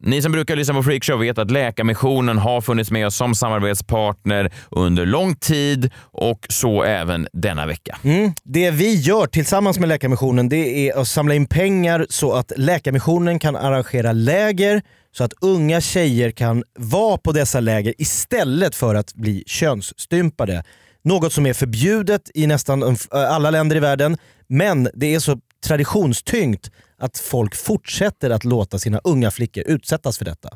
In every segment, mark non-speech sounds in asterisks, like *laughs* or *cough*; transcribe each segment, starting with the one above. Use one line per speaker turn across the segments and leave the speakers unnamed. Ni som brukar lyssna på Freakshow vet att Läkarmissionen har funnits med oss som samarbetspartner under lång tid och så även denna vecka.
Det vi gör tillsammans med Läkarmissionen det är att samla in pengar så att Läkarmissionen kan arrangera läger så att unga tjejer kan vara på dessa läger istället för att bli könsstympade. Något som är förbjudet i nästan eh, alla länder i världen men det är så traditionstyngt att folk fortsätter att låta sina unga flickor utsättas för detta.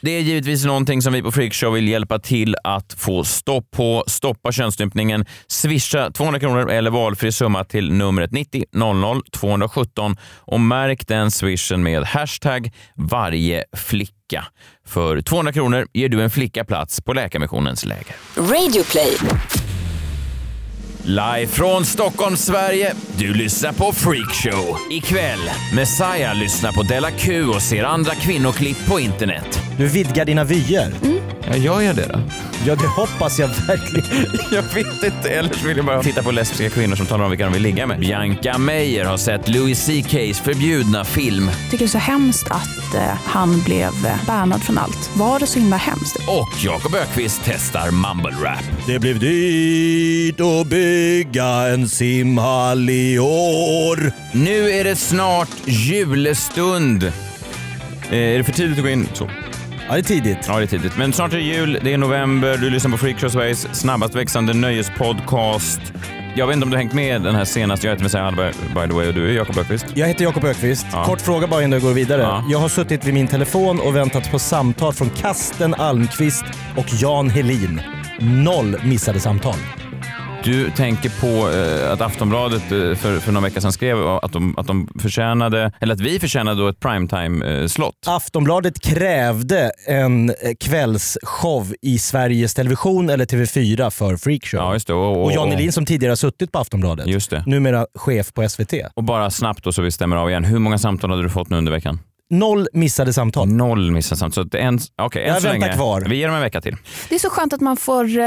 Det är givetvis någonting som vi på Freakshow vill hjälpa till att få stopp på. Stoppa könsstympningen. Swisha 200 kronor eller valfri summa till numret 90 00 217 och märk den swishen med hashtag varje flicka. För 200 kronor ger du en flicka plats på Läkarmissionens läger.
Radioplay.
Live från Stockholm, Sverige. Du lyssnar på Freakshow. Ikväll, Messiah lyssnar på Della Q och ser andra kvinnoklipp på internet.
Du vidgar dina vyer.
Ja, jag gör det då.
Ja det hoppas jag verkligen.
*laughs* Jag vet inte, eller vill jag bara titta på lesbiska kvinnor som talar om vilka de vill ligga med. Bianca Meyer har sett Louis CK's förbjudna film
tycker det är så hemskt att eh, han blev eh, bannad från allt. Var det så himla hemskt?
och Jakob Ökvist testar mumble rap.
Det blev dyrt att bygga en simhall i år.
Nu är det snart julestund. Eh, är det för tidigt att gå in? Så.
Ja, det är tidigt.
Ja, det är tidigt. Men snart är det jul, det är november, du lyssnar på Freakshow Sveriges snabbast växande nöjespodcast. Jag vet inte om du har hängt med den här senaste. Jag heter Messiah Hallberg by the way och du är Jakob Ökvist.
Jag heter Jakob Ökvist. Kort fråga bara innan jag går vidare.
Ja.
Jag har suttit vid min telefon och väntat på samtal från Kasten Almqvist och Jan Helin. Noll missade samtal.
Du tänker på eh, att Aftonbladet eh, för, för någon vecka sedan skrev att de, att de förtjänade, eller att vi förtjänade då ett eh, primetime-slott.
Aftonbladet krävde en eh, kvällsshow i Sveriges Television eller TV4 för Freakshow.
Ja, just det. Och, och,
och Jan
och-
Helin som tidigare har suttit på Aftonbladet,
Just det.
numera chef på SVT.
Och bara snabbt då så vi stämmer av igen. Hur många samtal hade du fått nu under veckan?
Noll missade samtal.
Noll missade samtal. Så att en, okay,
Jag
än så
väntar
länge.
kvar.
Vi ger dem en vecka till.
Det är så skönt att man får eh,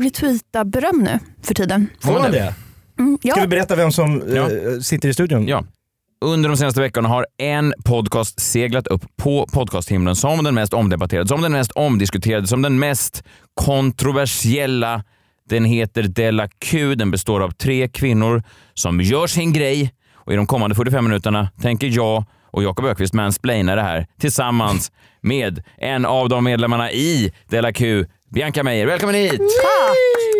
retweeta beröm nu för tiden.
Får man det?
Mm, ja.
Ska vi berätta vem som eh,
Ja.
sitter i studion?
Ja. Under de senaste veckorna har en podcast seglat upp på podcasthimlen som den mest omdebatterade, som den mest omdiskuterade, som den mest kontroversiella. Den heter Della Q. Den består av tre kvinnor som gör sin grej och i de kommande 45 minuterna tänker jag och Jakob Ökvist mansplaina det här tillsammans med en av de medlemmarna i Della Q, Bianca Meijer. Välkommen hit!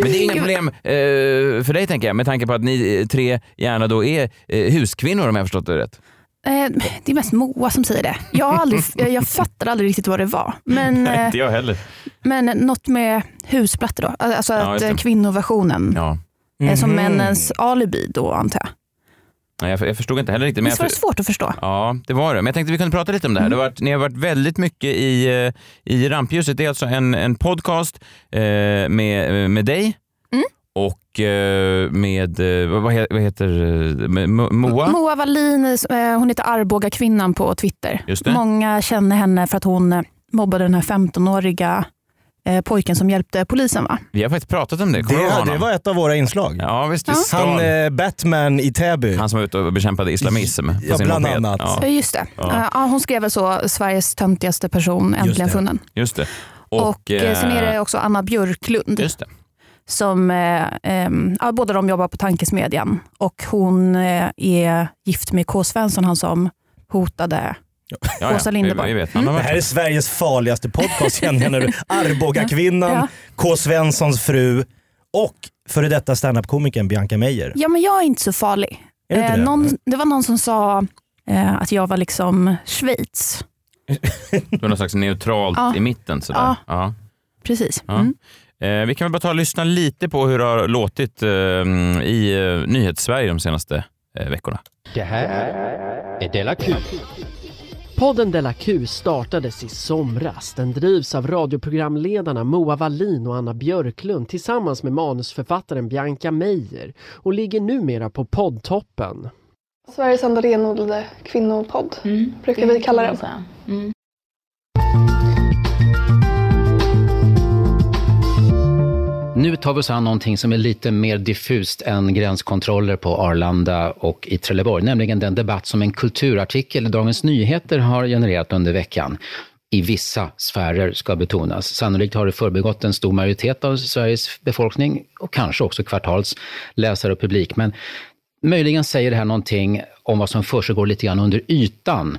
Men det är inga problem eh, för dig tänker jag med tanke på att ni eh, tre gärna då är eh, huskvinnor om jag har förstått det rätt.
Eh, det är mest Moa som säger det. Jag, har aldrig,
*laughs*
jag, jag fattar aldrig riktigt vad det var. Men, eh,
jag heller.
men något med husplattor då. Alltså
Ja,
att
just det.
eh, kvinnoversionen
Ja. Mhm.
är Eh,
Mhm.
som männens alibi då antar jag.
Nej, Jag, jag förstod inte heller riktigt. Men
Visst
jag,
var det svårt att förstå?
Ja, det var det. Men jag tänkte vi kunde prata lite om det här. Det har varit, ni har varit väldigt mycket i, eh, i rampljuset. Det är alltså en, en podcast eh, med, eh, med dig
Mm.
och eh, med, eh, vad, he- vad heter eh, med Mo- Moa?
Moa Wallin, eh, hon heter Arboga kvinnan på Twitter.
Just det.
Många känner henne för att hon eh, mobbade den här 15-åriga eh, pojken som hjälpte polisen. Va?
Vi har faktiskt pratat om det. Kommer du ihåg
Det,
honom?
det var ett av våra inslag.
Ja, visst. visst.
Han eh, Batman i Täby.
Han som var ute och bekämpade islamism. på
Ja,
sin
bland
moped.
annat.
Ja,
Ja. Just det.
Ja.
Eh, Ja, hon skrev väl så, Sveriges töntigaste person äntligen
det.
funnen.
just det.
Och, eh, sen är
eh,
det också Anna Björklund.
Just det.
Som, eh, ehm, ja, båda de jobbar på Tankesmedjan och hon eh, är gift med K. Svensson, han som hotade.
Ja, ja.
Åsa
vi-
Mm. Linderborg.
Vi vet. Han har
Det
varit
här är Sveriges farligaste
*laughs*
podcast känner du. Arbogakvinnan,
Ja.
K. Svenssons fru och före detta standup-komikern Bianca Meijer.
Ja, men jag är inte så farlig.
Är det inte det?
Eh, någon, det var någon som sa eh, att jag var liksom Schweiz.
på något slags neutralt
Ja.
i mitten. Sådär.
Ja.
Ja.
Precis.
Ja.
Mm.
Eh, vi kan väl bara ta och lyssna lite på hur det har låtit eh, i eh, Nyhetssverige de senaste eh, veckorna.
Det här är Della Q. Podden Della Q startades i somras. Den drivs av radioprogramledarna Moa Wallin och Anna Björklund tillsammans med manusförfattaren Bianca Meijer och ligger numera på poddtoppen.
Sveriges enda renodlade kvinnopodd,
Mm.
brukar vi kalla den.
säga. Mm.
Nu tar vi oss an någonting som är lite mer diffust än gränskontroller på Arlanda och i Trelleborg, nämligen den debatt som en kulturartikel i Dagens Nyheter har genererat under veckan. I vissa sfärer ska betonas. Sannolikt har det förbigått en stor majoritet av Sveriges befolkning och kanske också kvartals läsare och publik. Men möjligen säger det här någonting om vad som försiggår lite grann under ytan.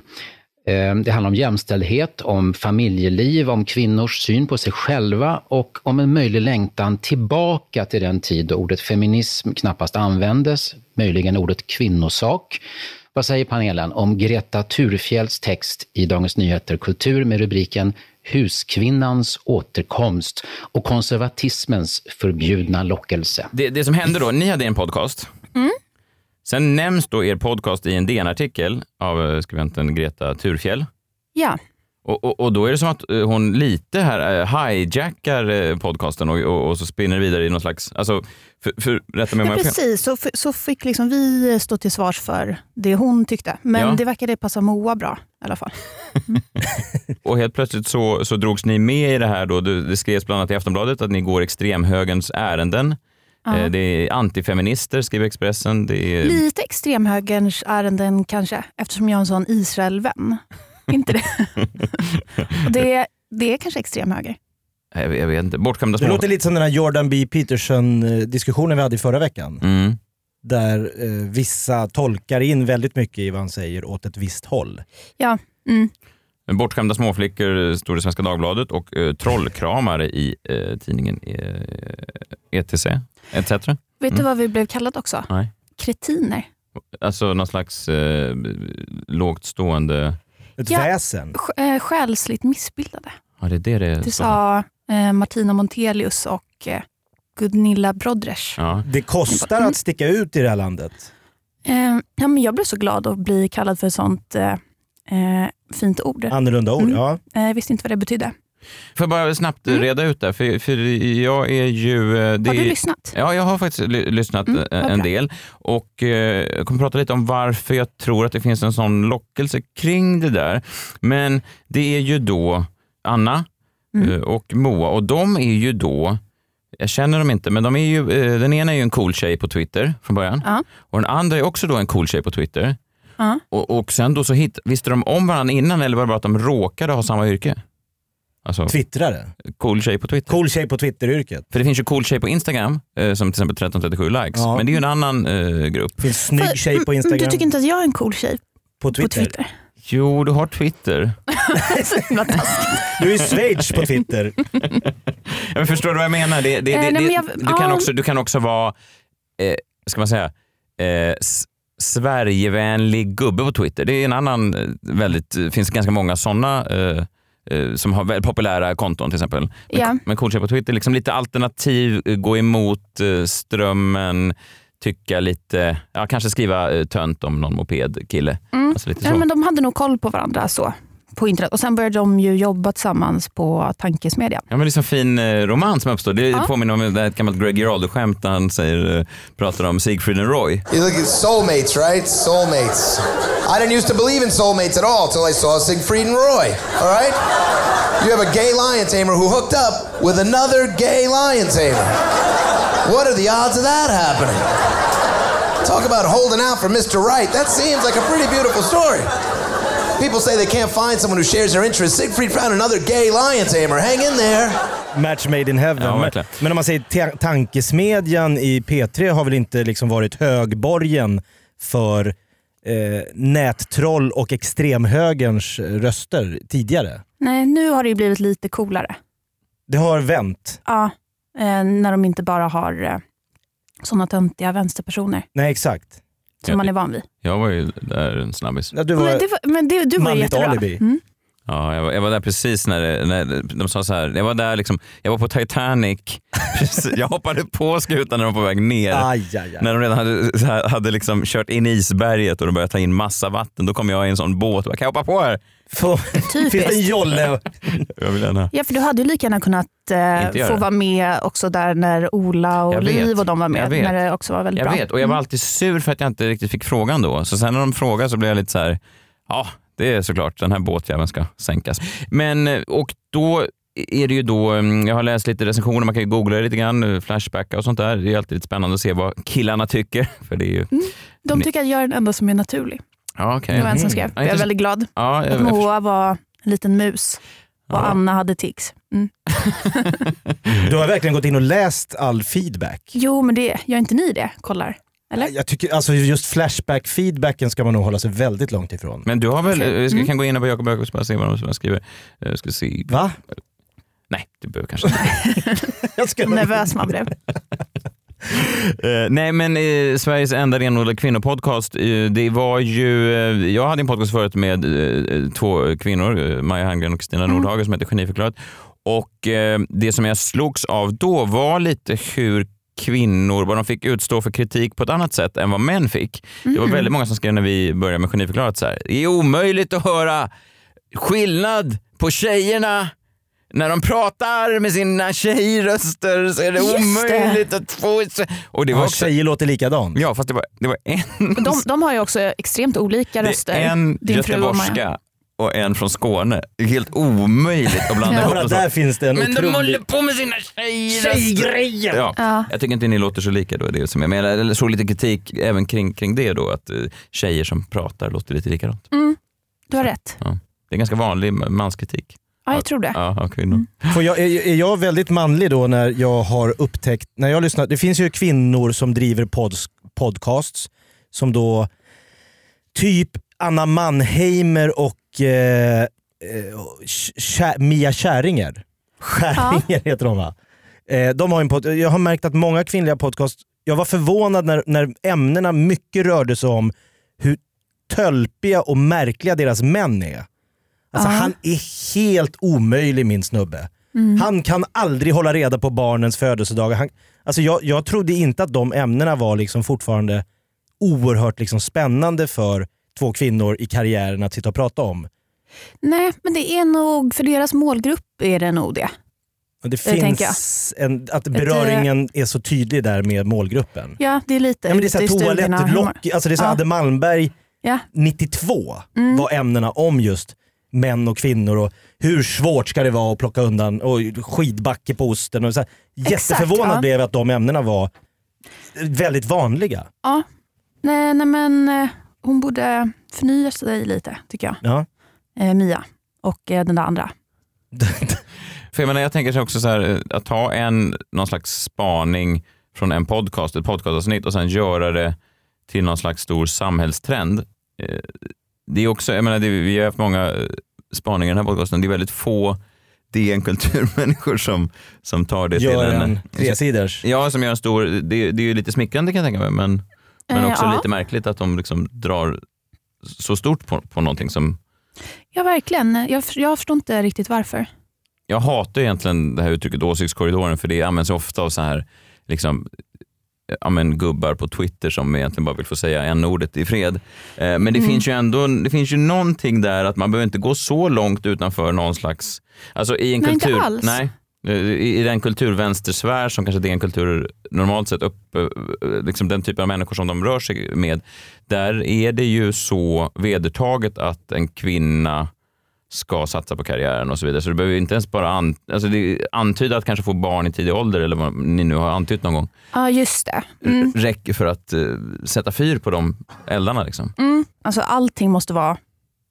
Eh, Det handlar om jämställdhet, om familjeliv, om kvinnors syn på sig själva och om en möjlig längtan tillbaka till den tid då ordet feminism knappast användes, möjligen ordet kvinnosak. Vad säger panelen om Greta Thurfjells text i Dagens Nyheter Kultur med rubriken Huskvinnans återkomst och konservatismens förbjudna lockelse?
Det, det som hände då, ni hade en podcast.
Mm.
Sen nämns då er podcast i en DN-artikel av eh, skribenten Greta Thurfjell.
Ja,
Och, och, och då är det som att eh, hon lite här eh, hijackar eh, podcasten och, och, och så spinner vidare i någon slags... Alltså, för, för, rätta mig om
men
jag har fel.
precis. Så, f- så fick liksom vi stå till svars för det hon tyckte. Men
Ja.
det verkade passa Moa bra i alla fall.
Och helt plötsligt så, så drogs ni med i det här. Då. Det, det skrevs bland annat i Aftonbladet att ni går extremhögerns ärenden. Eh, Det är antifeminister, skriver Expressen. Det är...
Lite extremhögerns ärenden kanske, eftersom jag är en sån Israelvän. *laughs*
*laughs*
inte det? det? Det är kanske extremhöger.
Jag, vet- eh, jag vet inte. Bortskämda
Det
små...
låter lite som den här Jordan B. Peterson-diskussionen vi hade i förra veckan.
Mm.
Där eh, vissa tolkar in väldigt mycket i vad han säger åt ett visst håll.
Ja, mm.
Bortskämda småflickor eh, står i Svenska Dagbladet och eh, trollkramare i eh, tidningen eh, E ETC. Etc.
Vet du
Mm.
vad vi blev kallade också?
Nej.
Kretiner.
Alltså någon slags eh, lågt stående...
Ett
Ja.
väsen.
Sj- eh, Själsligt missbildade.
Ja, det är det det
Det
står.
sa eh, Martina Montelius och eh, Gunilla Brodres.
Ja.
Det kostar
Mm.
att sticka ut i det här landet.
Eh, ja, men jag blev så glad att bli kallad för ett sånt eh, eh, fint ord.
Annorlunda ord,
Mm.
ja.
Eh, jag visste inte vad det betydde.
Får jag bara snabbt eh,
Mm.
reda ut det här? För, för jag är ju... eh, Det
Har du
är-
lyssnat?
Ja, jag har faktiskt ly- lyssnat
Mm,
eh,
vad
en
bra.
del och eh, jag kommer prata lite om varför jag tror att det finns en sån lockelse kring det där. Men det är ju då Anna
Mm.
eh, och Moa och de är ju då, jag känner dem inte, men de är ju, eh, den ena är ju en cool tjej på Twitter från början
Ja.
och den andra är också då en cool tjej på Twitter.
Ja.
Och, och sen då så hit, visste de om varandra innan eller var det bara att de råkade ha samma yrke? Alltså
Twittrare.
cool tjej på Twitter.
Cool tjej på Twitteryrket.
För det finns ju cool tjej på Instagram, eh, som till exempel 1337 likes.
Ja.
Men det är ju en annan eh, grupp.
Finns snygg tjej på
Mm,
Instagram.
Du tycker inte att jag är en cool tjej
På
på
Twitter.
Twitter? *laughs*
Jo, du har Twitter.
så himla taskigt.
Du är i Schweiz
*laughs*
på Twitter.
Ja, men förstår du vad jag menar? Det, det,
Eh,
det,
nej, men jag-
det, du, kan
ja.
också, du kan också vara, eh, ska man säga, eh, s- Sverigevänlig gubbe på Twitter. Det är en annan eh, väldigt, eh, finns ganska många sådana eh, eh, som har väldigt populära konton till exempel. Men,
Ja.
men cool tjej på Twitter, liksom lite alternativ, eh, gå emot eh, strömmen, tycka lite, ja kanske skriva eh, tönt om någon mopedkille.
Mm.
Alltså lite så.
Ja, men de hade nog koll på varandra så på internet. Och Sen började de ju jobba tillsammans på tankesmedjan.
Ja, men det är en sån fin eh, romans som uppstår. Det
Ja.
påminner om det här ett gammalt Greg Giraldo-skämt när han säger, eh, pratar om Siegfried and Roy.
You look at soulmates, right? Soulmates. I didn't used to believe in soulmates at all until I saw Siegfried and Roy. All right? You have a gay lion tamer who hooked up with another gay lion tamer. What are the odds of that happening? Talk about holding out for Mr. Right. That seems like a pretty beautiful story. People say they can't find someone who shares their interests. Siegfried found another gay lion tamer. Hang in there.
Match made in heaven.
Ja,
Men-
verkligen.
Men om man säger ta- tankesmedjan i P3 har väl inte liksom varit högborgen för eh, nättroll och extremhögerns eh, röster tidigare.
Nej, nu har det ju blivit lite coolare.
Det har vänt.
Ja, eh, när de inte bara har eh, sådana töntiga vänsterpersoner
Nej exakt.
som
Ja,
man är van vid.
Jag var ju där en snabbis.
Ja, Du
Men,
var,
det var, men det, du var ju
manligt
jättebra.
alibi.
Mm.
Ja, jag var, jag var där precis när, det, när det- de sa så här. Jag var där liksom, jag var på Titanic. Precis, jag hoppade på skutan när de var på väg ner.
Aj, aj, aj.
När de redan hade, så här, hade liksom kört in i isberget och de började ta in massa vatten. Då kom jag i en sån båt och bara, kan jag hoppa på här?
Få- Finns det en jolle?
*laughs* Jag vill gärna.
Ja, för du hade ju lika gärna kunnat eh,
Inte göra
få
det.
vara med också där när Ola och
Jag vet.
Liv och de var
Jag
med.
vet.
När det också var väldigt
Jag
bra. Mm.
vet och jag var alltid sur för att jag inte riktigt fick frågan då. Så sen när de frågade så blev jag lite så här, ja det är såklart den här båtjäveln ska sänkas. Men eh, och då är det ju då, mm, jag har läst lite recensioner, man kan ju googla det lite grann, eh, Flashback och sånt där. Det är alltid lite spännande att se vad killarna tycker. *laughs* För det är ju,
De tycker att jag är den enda som är naturlig.
ja okej.
Mm. Det var en som skrev.
Mhm. Ja,
Jag är
intressant.
väldigt glad.
Ja, jag,
Att
jag, förstår.
Moa var en liten mus och
Ja.
Anna hade tics. Mm.
Du har verkligen gått in och läst all feedback.
Jo, men det, gör inte ni det? Kollar. Eller?
Jag tycker, alltså just Flashback-feedbacken ska man nog hålla sig väldigt långt ifrån.
men du har väl,
Okej.
vi ska,
Mm.
kan gå in på Jakob Jakobs och se vad de skriver. Jag ska se,
Va?
nej du behöver kanske inte.
*laughs* Jag ska...
Nervös man blev.
*laughs* Eh, nej men eh, Sveriges enda renodlade kvinnopodcast. Eh, det var ju, eh, jag hade en podcast förut med eh, två kvinnor, eh, Maja Herngren och Kristina Nordhagen som heter Geniförklarat. Och eh, det som jag slogs av då var lite hur kvinnor, vad de fick utstå för kritik på ett annat sätt än vad män fick. Det var väldigt många som skrev när vi började med Geniförklarat så här, det är omöjligt att höra skillnad på tjejerna när de pratar med sina tjejröster så är det
Just det.
omöjligt att få... Och det var
Ja,
också
tjejer låter likadant.
Ja, fast det var, det var en,
De, de har ju också extremt olika
det
röster.
är en
Din fru och Maja.
göteborgska och en från Skåne. Det är helt omöjligt att blanda
Ja.
ihop
Bara
dem så.
där finns det en
alltså. Men de håller
otrolig...
på med sina tjejröster.
Tjejgrejen!
Ja.
Ja.
Jag tycker inte ni låter så lika. Då, det är det som jag menar. Eller såg lite kritik även kring, kring det då, att eh, tjejer som pratar låter lite likadant.
Du har rätt.
Det är ganska vanlig manskritik
Ja, jag tror det.
ja, av kvinnor.
Får jag, är, är jag väldigt manlig då när jag har upptäckt, när jag lyssnar, det finns ju kvinnor som driver pods, podcasts som då typ Anna Mannheimer och eh, eh, Ch- Ch- Mia Skäringer. Skäringer heter de va? Eh, de har ju en pod- jag har märkt att många kvinnliga podcasts, jag var förvånad när, när ämnena mycket rörde sig om hur tölpiga och märkliga deras män är. Alltså
Ja.
han är helt omöjlig min snubbe. Han kan aldrig hålla reda på barnens födelsedagar. Han, alltså jag, jag trodde inte att de ämnena var liksom fortfarande oerhört liksom spännande för två kvinnor i karriären att sitta och prata om.
Nej, men det är nog, för deras målgrupp är det nog det.
Och det
tänker jag.
finns en, att beröringen är så tydlig där med målgruppen.
Ja, det är lite
Ja, men det är så här
ute i stugorna.
toalettlock, alltså det är så här
Ja.
Adde Malmberg
Ja.
92 var ämnena om just män och kvinnor och hur svårt ska det vara att plocka undan och skidbacke på osten. Och så här. Jätteförvånad
ja.
blev jag att de ämnena var väldigt vanliga.
Ja. Nej, nej men eh, hon borde förnya sig lite tycker jag.
Ja.
Eh, Mia och eh, den där andra.
För jag, menar, jag tänker så också så här, eh, att ta en, någon slags spaning från en podcast, ett podcastavsnitt och sen göra det till någon slags stor samhällstrend. Eh, Det är också, jag menar, det, vi har haft många eh, spaningar i den här podcasten. Det är väldigt få DN Kulturmänniskor som, som tar det
Gör
till
en tresiders.
Ja, som gör en stor... Det, det är ju lite smickrande kan jag tänka mig, men, men
Eh,
också
ja.
lite märkligt att de liksom drar så stort på, på någonting som
Ja, verkligen. Jag, för- jag förstår inte riktigt varför.
jag hatar ju egentligen det här uttrycket åsiktskorridoren för det används ofta av så här liksom, ja, men gubbar på Twitter som egentligen bara vill få säga en ordet i fred. Eh, men det
Mm.
finns ju ändå det finns ju någonting där att man behöver inte gå så långt utanför någon slags... Alltså i en
Nej, inte
kultur,
alls.
Nej, eh, i i den kulturvänstersfär som kanske DN Kultur normalt sett upp, eh, liksom den typen av människor som de rör sig med, där är det ju så vedertaget att en kvinna ska satsa på karriären och så vidare. Så du behöver ju inte ens bara an, alltså det, antyda att kanske få barn i tidig ålder eller vad ni nu har antytt någon gång.
Ja, just det. Mm.
Räcker för att eh, sätta fyr på de eldarna. Liksom.
Mm. Alltså, allting måste vara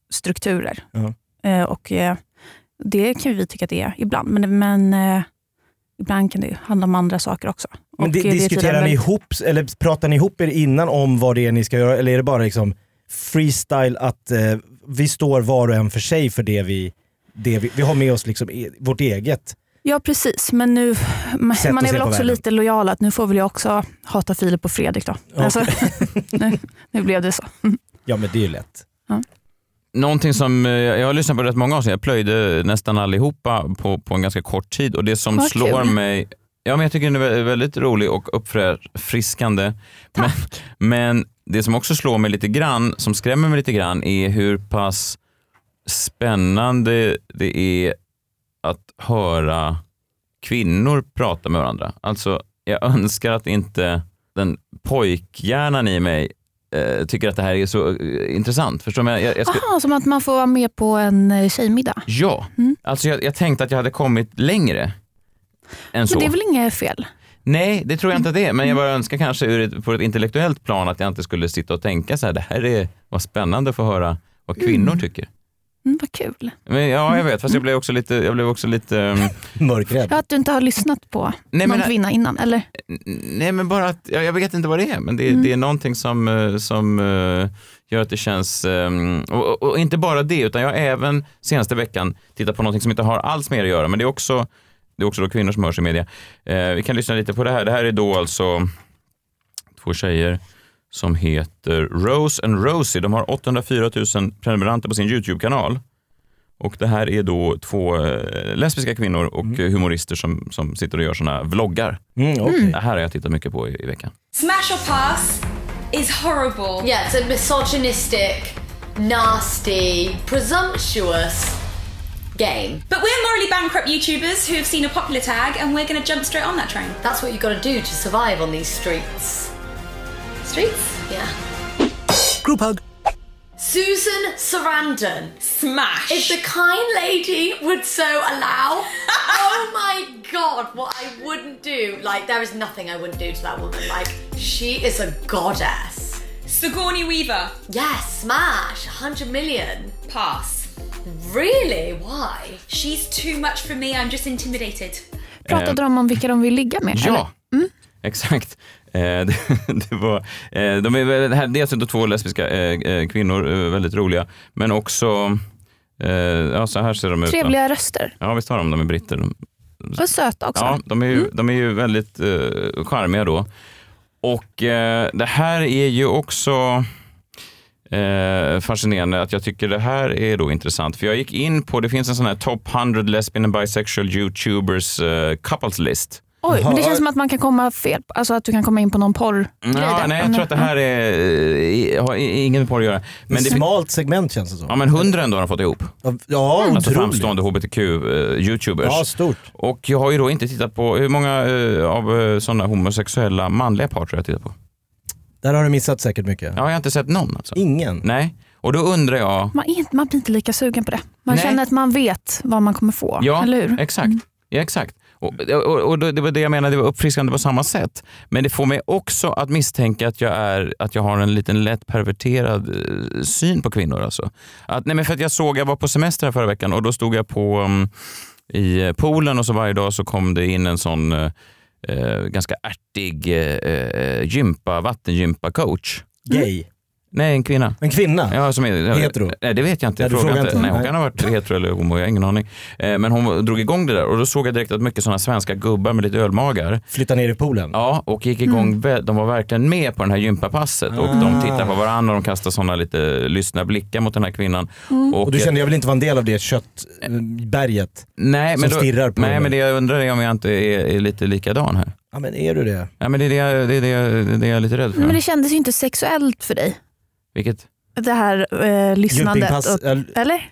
strukturer.
Ja.
Eh, och eh, Det kan vi tycka att det är ibland, men, men eh, ibland kan det ju handla om andra saker också.
Men
Och,
di-
eh, det är
diskuterar
tydligen
ni
väldigt-
ihop, eller pratar ni ihop er innan om vad det är ni ska göra eller är det bara liksom freestyle att eh, vi står var och en för sig för det vi, det vi, vi har med oss liksom e, vårt eget.
Ja precis, men nu, man
Sätt att
man
se
är väl
på
också
världen.
lite lojal att nu får väl jag också hata Filip och *laughs* Fredrik då. Alltså, nu, nu blev det så.
Ja men det är ju lätt.
någonting som, eh, jag har lyssnat på rätt många avsnitt, jag plöjde nästan allihopa på, på en ganska kort tid och det som
Vad
slår
kul.
mig, ja men jag tycker den är vä- väldigt rolig och uppfriskande. Men, men det som också slår mig lite grann, som skrämmer mig lite grann är hur pass spännande det är att höra kvinnor prata med varandra. Alltså jag önskar att inte den pojkhjärnan i mig eh, tycker att det här är så eh, intressant. Förstår du? vad Jag, jag, jag skulle-
Aha, som att man får vara med på en eh, tjejmiddag.
Ja,
Mm.
alltså jag, jag tänkte att jag hade kommit längre än så.
Men det är väl Mm. inget fel?
Nej, det tror jag inte att det är. Men jag bara önskar kanske ur ett, på ett intellektuellt plan att jag inte skulle sitta och tänka så här, det här är vad spännande att få höra vad kvinnor tycker.
Mm, vad kul.
Men, ja,
Mm.
jag vet, fast jag blev också lite, jag blev också lite ehm,
Mörkrädd.
Ja, att du inte har lyssnat på
Nej,
någon
men-
kvinna innan, eller?
Nej men bara att, jag, jag vet inte vad det är, men det,
Mm.
det är någonting som, eh, som eh, gör att det känns, ehm, och, och, och inte bara det, utan jag har även senaste veckan tittat på någonting som inte har alls mer att göra, men det är också, det är också då kvinnor som hörs i media. Eh, vi kan lyssna lite på det här, det här är då alltså två tjejer som heter Rose and Rosie, de har 804 000 prenumeranter på sin YouTube-kanal. Och det här är då två eh, lesbiska kvinnor och eh, humorister som, som sitter och gör såna vloggar.
Mm, okej.
Det här har jag tittat mycket på i, i veckan.
Smash or pass is horrible. Yeah, it's a misogynistic,
Eh,
nasty, presumptuous game. But we're morally bankrupt YouTubers who have seen a popular tag and we're gonna jump straight on that train. That's what you gotta do to survive on these streets. Streets? Yeah.
Group hug.
Susan Sarandon. Smash. If the kind lady would so allow. oh my god, what I wouldn't do. Like, there is nothing I wouldn't do to that woman. Like, she is a goddess. Sigourney Weaver. Yes, smash. 100 million. Pass. Really? Why? She's too much for me. I'm just intimidated.
Pratade de om vilka de vill ligga med? eller? Mm.
Ja, exakt. Eh, *laughs* det, det var, eh, de är väl- det här, dels är det två lesbiska eh, eh, kvinnor, eh, väldigt roliga, men också, eh, ja så här ser de ut. då.
Trevliga röster.
Ja visst har de, de är britter. De,
Och söta också.
ja, de är
Mm.
ju, de är ju väldigt eh, charmiga då. Och eh, det här är ju också eh, fascinerande att jag tycker det här är då intressant. För jag gick in på, det finns en sån här top 100 lesbian and bisexual youtubers eh, couples list.
Oj, men det känns som att man kan komma fel. Alltså att du kan komma in på någon porr.
Mm, Ja, nej, jag tror att det här är, eh, har i- ingen med porr att göra. Men
Men
det,
Smalt segment känns det som.
ja, men hundra ändå har de fått ihop.
Ja,
Alltså
otroligt.
framstående hbtq-youtubers.
Ja, stort.
eh, Och jag har ju då inte tittat på, hur många eh, av eh, sådana homosexuella manliga par tror jag tittat på?
Där har du missat säkert mycket.
Ja, jag har inte sett någon alltså.
Ingen.
Nej, och då undrar jag,
Man, är, inte- man blir inte lika sugen på det. Man
Nej.
känner att man vet vad man kommer få.
ja,
eller hur? Mm.
exakt. Ja, exakt. Och, och, och då- det var det jag menade, det var uppfriskande på samma sätt. Men det får mig också att misstänka att jag, är, att jag har en liten lätt perverterad eh, syn på kvinnor. Alltså. Att, nej men för att jag såg, jag var på semester här förra veckan och då stod jag på mm, i eh, poolen och så varje dag så kom det in en sån eh, eh, ganska ärtig eh, eh, gympa, vattengympa-coach.
Gay.
Nej, en kvinna.
En kvinna.
Ja, som är,
Hetero?
Nej, det vet jag inte. Jag
Nej, du
frågar
frågar
inte.
inte.
Nej, hon
Nej.
kan ha varit hetero eller homo, jag har ingen aning. Eh, Men hon drog igång det där och då såg jag direkt att mycket sådana svenska gubbar med lite ölmagar,
Flytta ner i poolen.
ja, och gick igång.
Mm.
vä- De var verkligen med på den här gympapasset och
Ah.
de tittade på varandra och de kastade sådana lite lystna blickar mot den här kvinnan.
Mm. Och du kände jag vill inte vara en del av det köttberget.
nej, men
som stirrar på
Nej,
henne?
men det jag undrar är om jag inte är, är lite likadan här.
Ja men är du det?
Ja, men det är det, jag, det, är det, jag, det är det jag är lite rädd för.
Men det kändes ju inte sexuellt för dig.
Vilket?
Det här eh, lyssnandet.
Gympingpass?
Och,
eller-
eller?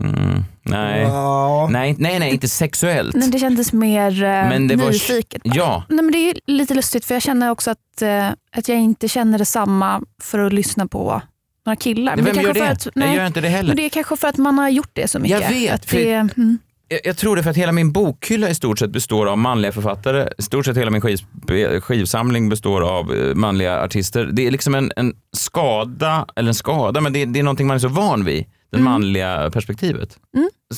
Mm, nej.
Ja.
nej, nej, nej, inte sexuellt.
Nej, det kändes mer eh,
Men det var-
nyfiket.
Ja,
Nej, men det är ju lite lustigt för jag känner också att, eh, att jag inte känner detsamma för att lyssna på några killar.
vem
kanske
gör det?
För att,
jag
nej,
gör inte det heller.
men det är kanske för att man har gjort det så mycket.
Jag vet,
Att
för-
det, mm.
jag, jag tror det för att hela min bokhylla i stort sett består av manliga författare. I stort sett hela min skiv, skivsamling består av eh, manliga artister. Det är liksom en, en skada, eller en skada, men det, är- det är någonting man är så van vid. Det
Mm.
manliga perspektivet.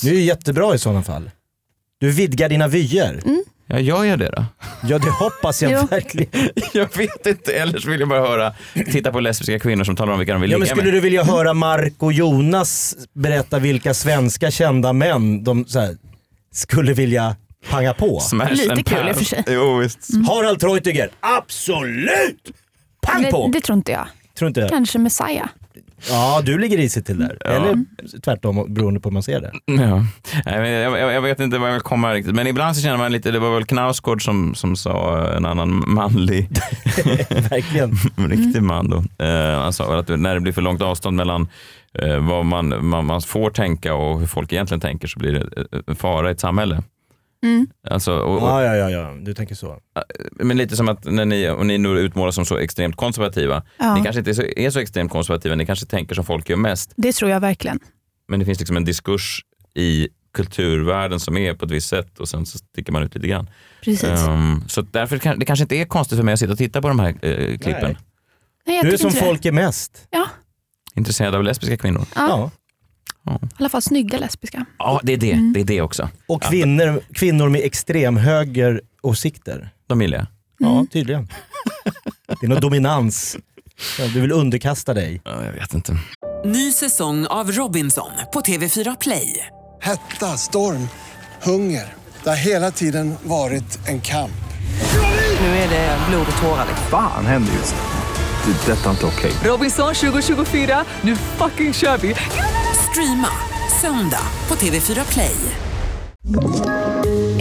Du är ju jättebra i sådana fall. Du vidgar dina vyer.
Ja, jag gör det då. *laughs*
Ja det hoppas
Jo.
jag verkligen.
Jag vet inte, eller så vill jag bara höra, titta på lesbiska kvinnor som talar om vilka de vill
Ja, men
ligga
skulle
med.
du vilja höra Marco och Jonas berätta vilka svenska kända män de så här, skulle vilja panga på?
Smash
Lite
and
kul i och
pass.
för sig. Mm.
Jo, visst.
Mm. Harald Treutiger, absolut! Pang
det,
på!
det tror inte jag.
Tror inte det?
Kanske Messiah.
Ja, du ligger risigt till där.
Ja.
Eller tvärtom, beroende på hur man ser det.
Ja. Nej, men Jag, jag, jag vet inte var jag vill komma riktigt, men ibland så känner man lite, det var väl Knausgård som, som sa eh, en annan manlig,
Verkligen.
riktig man då. Eh, han sa väl att när det blir för långt avstånd mellan eh, vad man, man, man får tänka och hur folk egentligen tänker så blir det eh, en fara i ett samhälle.
Mm.
Alltså, och, och,
Ja, ja, ja, ja, du tänker så.
Men lite som att när ni, och ni nu utmålas som så extremt konservativa,
Ja.
ni kanske inte är så, är så extremt konservativa, ni kanske tänker som folk gör mest,
Det tror jag verkligen.
men det finns liksom en diskurs i kulturvärlden som är på ett visst sätt och sen så sticker man ut lite grann.
Precis.
Ehm, så därför kan, det kanske inte är konstigt för mig att sitta och titta på de här eh, klippen.
Nej.
Nej, jag
Du är
tycker
som
inte det.
folk är mest.
Ja,
Intresserad av lesbiska kvinnor.
Ja.
Ja.
i alla fall snygga lesbiska.
Ja, det är det.
Mm.
Det är det också.
Och kvinnor, kvinnor med extremhöger åsikter.
De gillar jag.
Mm.
Ja, tydligen. Det är någon dominans. Ja, du vill underkasta dig.
Ja, Jag vet inte.
Ny säsong av Robinson på TV4 Play.
Hetta, storm, hunger. Det har hela tiden varit en kamp.
Nu är det blod och tårar.
Fan händer just det. Det är detta inte okej.
Robinson 2024, nu fucking kör vi! Streama söndag på TV4 Play.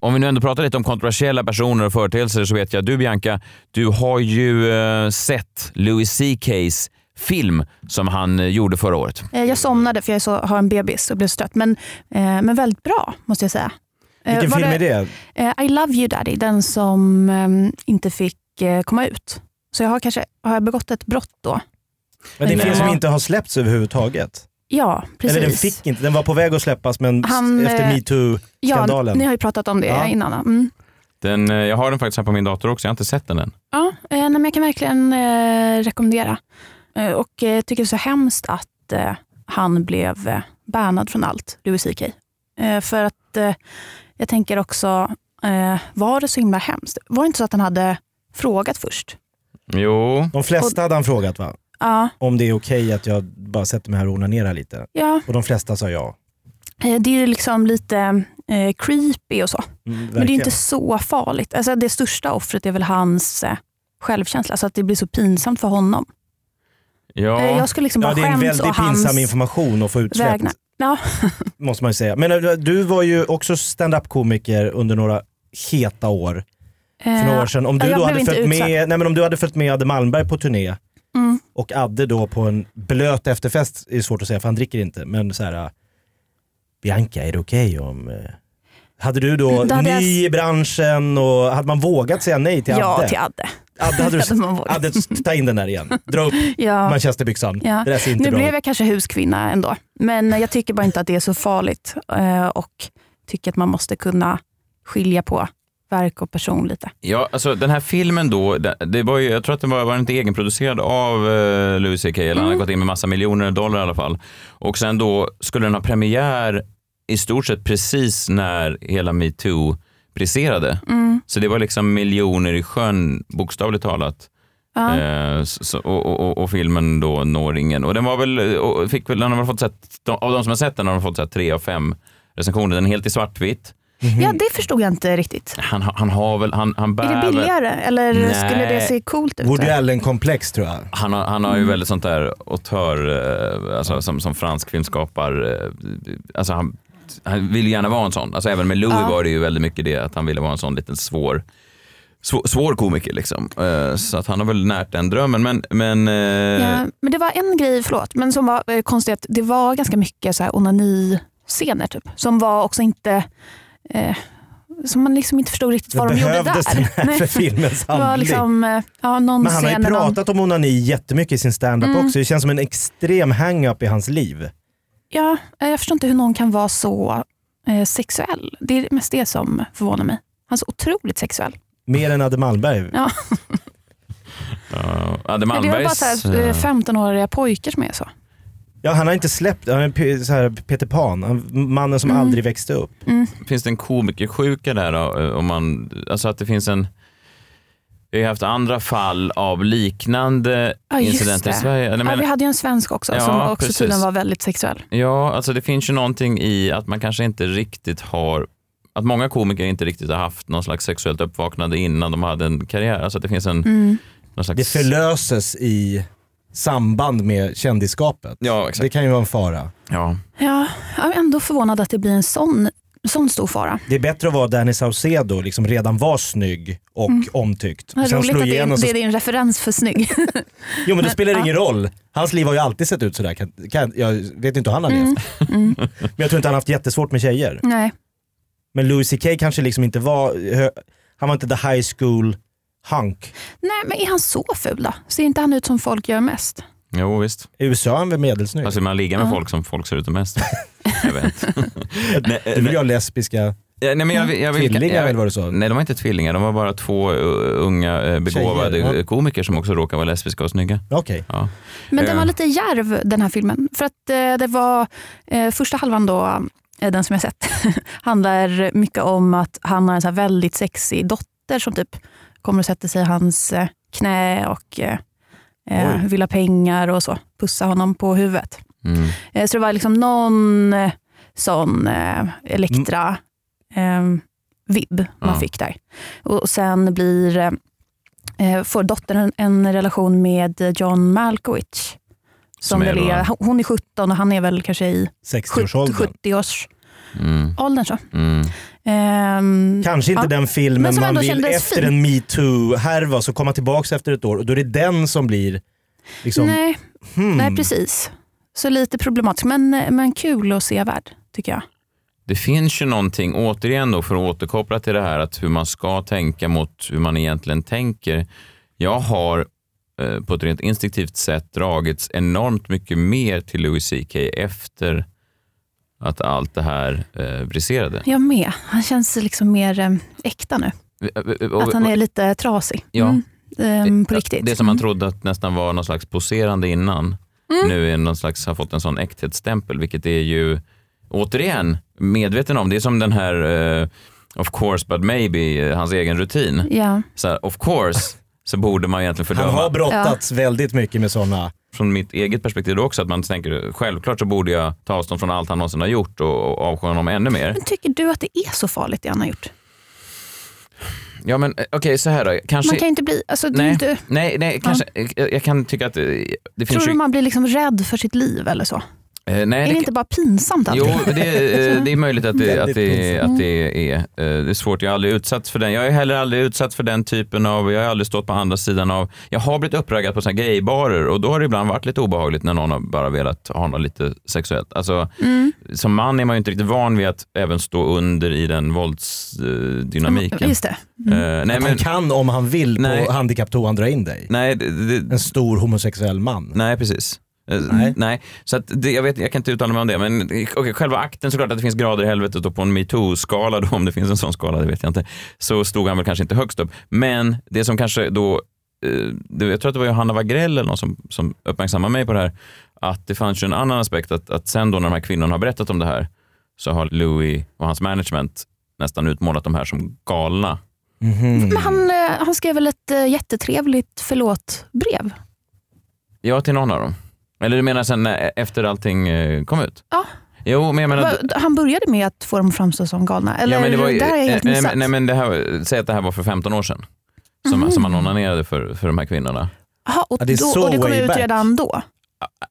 Om vi nu ändå pratar lite om kontroversiella personer och företeelser så vet jag du Bianca, du har ju eh, sett Louis CKs film som han eh, gjorde förra året.
Eh, Jag somnade för jag är så, har en bebis och blev stött. Men, eh, men väldigt bra måste jag säga. Eh,
Vilken
var
film är det?
Eh, I Love You Daddy, den som eh, inte fick eh, komma ut. Så jag har kanske har jag begått ett brott då?
Men det är en
Nej.
film som inte har släppts överhuvudtaget.
Ja, precis.
Eller den fick inte, den var på väg att släppas men s-
Han,
efter
eh, ja,
metoo-skandalen.
ni har ju pratat om det
Ja.
innan. va? Mm.
Den, eh, jag har den faktiskt här på min dator också, jag har inte sett den än.
Ja, eh, nej, men jag kan verkligen eh, rekommendera. Eh, och eh, tycker det är så hemskt att eh, han blev eh, bannad från allt, Louis CK. Eh, för att eh, jag tänker också, eh, var det så himla hemskt? Var det inte så att han hade frågat först?
Jo.
De flesta hade han frågat va?
Ja,
Om det är okej att jag bara sätter mig här och onanerar lite.
ja
Och de flesta sa ja.
eh, det är ju liksom lite eh, creepy och så. Men det är
Mm, verkligen.
inte så farligt. Alltså, det största offret är väl hans eh, självkänsla, alltså att det blir så pinsamt för honom.
Ja.
Eh, Jag skulle liksom bara
ja, det är en
skäms å
väldigt
hans
pinsam information att få utsläppt.
vägnar. Ja.
Måste man ju säga. Men eh, du var ju också stand-up-komiker under några heta år. För några år sedan. Om du,
Eh, jag
då
blev
hade
inte
följt
utsatt.
med, nej, men om du hade följt med Adde Malmberg på turné
Mm.
och Adde då på en blöt efterfest, är svårt att säga för han dricker inte, men så här, eh, Bianca är det okej om... eh, Hade du då,
Mm, Då hade jag-
ny i branschen och hade man vågat säga nej till
ja,
Adde?
till Adde.
Adde, hade
*laughs* Hade
du,
man vågat.
Adde, ta in den där igen. Dra upp
*laughs* Ja.
manchesterbyxan.
Ja.
Det där ser inte
Nu
bra
blev
ut.
jag kanske huskvinna ändå, men eh, jag tycker bara inte att det är så farligt eh, och tycker att man måste kunna skilja på verk och person lite.
Ja, alltså den här filmen då, det det var ju, jag tror att den var, var den inte egenproducerad av eh, Louis CK, eller
Mm.
han har gått in med massa miljoner dollar i alla fall. Och sen då skulle den ha premiär i stort sett precis när hela metoo briserade.
Mm.
Så det var liksom miljoner i sjön, bokstavligt talat.
Ja.
Eh, så, och, och- och, och filmen då når ingen. Och den var väl, och fick väl, den har väl fått sett, de, av de som har sett den har de fått sett tre av fem recensioner. Den är helt i svartvitt.
Mhm.
ja, det förstod jag inte riktigt.
Han, har- han har väl, han, han bär
Är det
väl-
billigare eller
Äh, Nej.
skulle det se coolt ut?
Woody Allen-komplex tror jag.
Han har, han har
Mm.
ju väldigt sånt där auteur, eh, alltså, som, som fransk film skapar. eh, Alltså, han, han vill ju gärna vara en sån. Alltså, även med Louis
Ja.
var det ju väldigt mycket det att han ville vara en sån liten svår, svår, svår komiker. Liksom. Eh, Så att han har väl närt den drömmen. Men, men, eh,
Ja, men det var en grej, förlåt, men som var eh, konstigt att det var ganska mycket så här onaniscener typ, som var också inte eh, som man liksom inte förstod riktigt vad de gjorde där.
behövdes den här *laughs*
Nej.
för filmens
Det var
handling?
liksom, eh, ja, någon
Men han har ju
scen när någon-
pratat om onani jättemycket i sin standup
Mm.
också. Det känns som en extrem hang-up i hans liv.
Ja, eh, jag förstår inte hur någon kan vara så eh, sexuell. Det är mest det som förvånar mig. Han är så otroligt sexuell.
Mer än Adde Malmberg.
Ja. *laughs*
Adde
Men det är väl bara
Malmbergs...
så här, eh, 15-åriga pojkar som är så.
Ja, han har inte släppt, han är pe- så här Peter Pan, han- mannen
Mm.
som aldrig växte upp.
Finns det en komikersjuka där då? Eh, Om man, alltså att det finns en... Vi har haft andra fall av liknande
Ja, just
incidenter
det.
i Sverige. Nej,
ja,
men-
vi hade ju en svensk också
Ja,
som också
precis.
tydligen var väldigt sexuell.
Ja, alltså det finns ju någonting i att man kanske inte riktigt har att många komiker inte riktigt har haft någon slags sexuellt uppvaknande innan de hade en karriär. Alltså att det finns en...
Mm.
Någon slags...
Det förlöses i samband med kändisskapet.
Ja,
Det kan ju vara en fara.
Ja.
Ja, jag är ändå förvånad att det blir en sån, sån stor fara.
Det är bättre att vara Danny Saucedo, liksom redan var snygg och
Mm.
omtyckt.
Vad roligt att det är,
och så...
det är din referens för snygg. *laughs*
Jo men det spelar
ja.
ingen roll. Hans liv har ju alltid sett ut sådär. Kan, kan, jag vet inte hur han har levt.
Mm, mm.
Men jag tror inte han har haft jättesvårt med tjejer.
Nej.
Men Louis CK kanske liksom inte var, hö- han var inte the high school hunk.
Nej, men är han så ful då? Ser inte han ut som folk gör mest?
Jo, visst.
I USA är han väl medelsnygg?
Alltså man ligger med
Ja.
folk som folk ser ut
*laughs*
mest. jag vet. nej,
Det vill jag lesbiska
Ja, nej, men jag, vill- jag vill,
Tvillingar,
jag,
eller vad du sa?
Nej, de var inte tvillingar. De var bara två eh, unga eh, begåvade
Tjejer, ja.
komiker som också råkar vara lesbiska och snygga.
Okej.
Ja.
Men den
Eh,
var lite järv den här filmen. För att eh, det var eh, första halvan då, eh, den som jag sett, *laughs* handlar mycket om att han har en så här väldigt sexig dotter som typ kommer och sätter sig i hans eh, knä och eh, eh,
Oj.
vill ha pengar och så. Pussa honom på huvudet.
Mm.
Eh, så det var liksom någon eh, sån eh, Elektra eh, vibb man
Ja.
fick där. Och, och sen blir, eh, eh, får dottern en, en relation med John Malkovich.
Som
Som
är
väl
då-
är, hon- hon är 17 och han är väl kanske i
60-årsåldern.
70-årsåldern. Så.
Mm.
Ehm,
Kanske inte
ja.
den filmen
Men som
man
ändå
vill
kändes
efter
fin.
en metoo-härva, så komma tillbaka efter ett år och då är det den som blir liksom,
Nej,
hmm.
nej, precis. Så lite problematisk, men, eh, men kul och sevärd tycker jag.
Det finns ju någonting, återigen då, för att återkoppla till det här att hur man ska tänka mot hur man egentligen tänker. Jag har eh, på ett rent instinktivt sätt dragits enormt mycket mer till Louis CK efter att allt det här eh, briserade.
Jag med. Han känns liksom mer eh, äkta nu.
Eh,
Att han är lite trasig.
Ja.
Mm, ehm, på riktigt.
Det som man trodde att nästan var någon slags poserande innan,
Mm.
nu är någon slags, har fått en sån äkthetsstämpel, vilket är ju återigen medveten om. Det är som den här eh, of course but maybe, eh, hans egen rutin.
Ja.
Så här, of course så borde man egentligen fördöma.
Han har brottats väldigt mycket med sådana.
Från mitt eget perspektiv också, att man tänker självklart så borde jag ta avstånd från allt han någonsin har gjort och, och avsky honom ännu mer.
Men tycker du att det är så farligt det han har gjort?
Ja men eh, okej så här då, kanske...
Man kan ju inte bli... Alltså, det är
nej,
inte,
nej, nej, kanske, jag, jag kan tycka att eh, det finns
tror
ju...
du man blir liksom rädd för sitt liv eller så?
Eh, nej,
är det,
det-
inte bara pinsamt
Jo,
allting?
men det, eh, det är möjligt att det, att
Väldigt
det,
pinsamt.
att det är. eh, Det är svårt. Jag har aldrig utsatts för den. Jag är heller aldrig utsatt för den typen av... Jag har aldrig stått på andra sidan av... Jag har blivit uppraggad på såna här gaybarer och då har det ibland varit lite obehagligt när någon har bara velat ha något lite sexuellt. Alltså,
Mm.
Som man är man ju inte riktigt van vid att även stå under i den våldsdynamiken.
Ja, just det.
Mm. nej,
att han
men,
kan om han vill
Nej.
på handikapptoan dra in dig.
nej, det,
En stor homosexuell man.
Nej, precis. Eh, Nej. Så att det, jag, vet, jag kan inte uttala mig om det. Men okej, själva akten, såklart att det finns grader i helvetet och på en metoo-skala, då, om det finns en sån skala, det vet jag inte, så stod han väl kanske inte högst upp. Men det som kanske då, eh, det, jag tror att det var Johanna Wagrell eller någon som, som uppmärksammade mig på det här, att det fanns ju en annan aspekt, att, att sen då när de här kvinnorna har berättat om det här, så har Louis och hans management nästan utmålat de här som galna. Mm.
Men han, eh, han skrev väl ett eh, jättetrevligt förlåt-brev?
Ja, till någon av dem. Eller du menar sen när, efter allting eh, kom ut?
Ja.
Jo, men jag menar...
Va- Han började med att få dem att framstå som galna, eller?
Ja, men det var ju-
där har jag helt
nej,
missat.
men- nej, men det här, Säg att det här var för 15 år sedan. Som,
Mhm.
som man onanerade för, för de här kvinnorna.
Jaha, och,
Ja, det är
då,
så
och det kom
way
ut
back.
redan då?
Och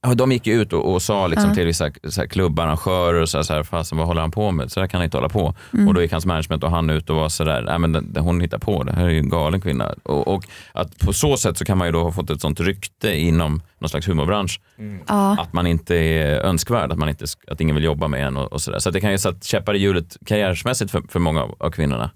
Ah, De gick ju ut och, och sa liksom
Ja.
till vissa så här, klubbarrangörer och så här, så här, fasen vad håller han på med? Så där kan han inte hålla på.
Mm.
Och då gick hans management och han ut och var sådär, nej men den, den, hon hittar på det, här är ju en galen kvinna. Och, och att på så sätt så kan man ju då ha fått ett sånt rykte inom någon slags humorbransch.
Ja.
Att man inte är önskvärd, att, man inte, sk- att ingen vill jobba med en och, och sådär. Så att det kan ju sätta käppar i hjulet karriärmässigt för, för många av, av kvinnorna.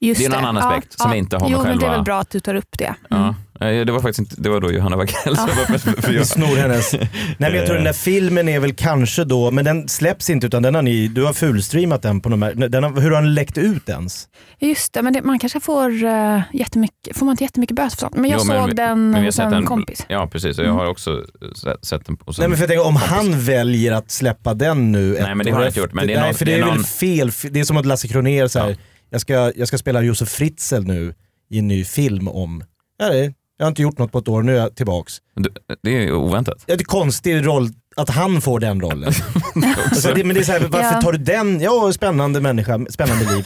Just
Det är en annan aspekt som inte har med
jo, men det är
själva-
väl bra att du tar upp det.
Ja. Nej, Det var faktiskt inte, det var då Johanna Wagrell som var för, för
Vi snor hennes. Nej men jag tror den där filmen är väl kanske då, men den släpps inte utan den har ni, du har fulstreamat den på de här, den har, hur har den läckt ut ens?
Just det, men det, man kanske får eh, jättemycket, får man inte jättemycket böter för sånt? Men jag
Jo,
såg
vi-
den
men vi har
hos
sett
en
den-
kompis.
Ja precis, och jag har också se- sett den. Och sen-
Nej men för jag tänker om han väljer att släppa den nu
Nej, men det har han inte gjort, men det är
nej
någon-
för det
det
är,
är
väl
någon-
fel, det är som att Lasse Kronér så här, jag, ska, jag ska spela Josef Fritzl nu i en ny film om, ja, det, jag har inte gjort något på ett år, nu är jag tillbaks.
Det är ju oväntat.
Ja, Det är en konstig roll att han får den rollen. alltså, det, men det är så här, varför
Ja.
tar du den? Ja, spännande människa, spännande liv.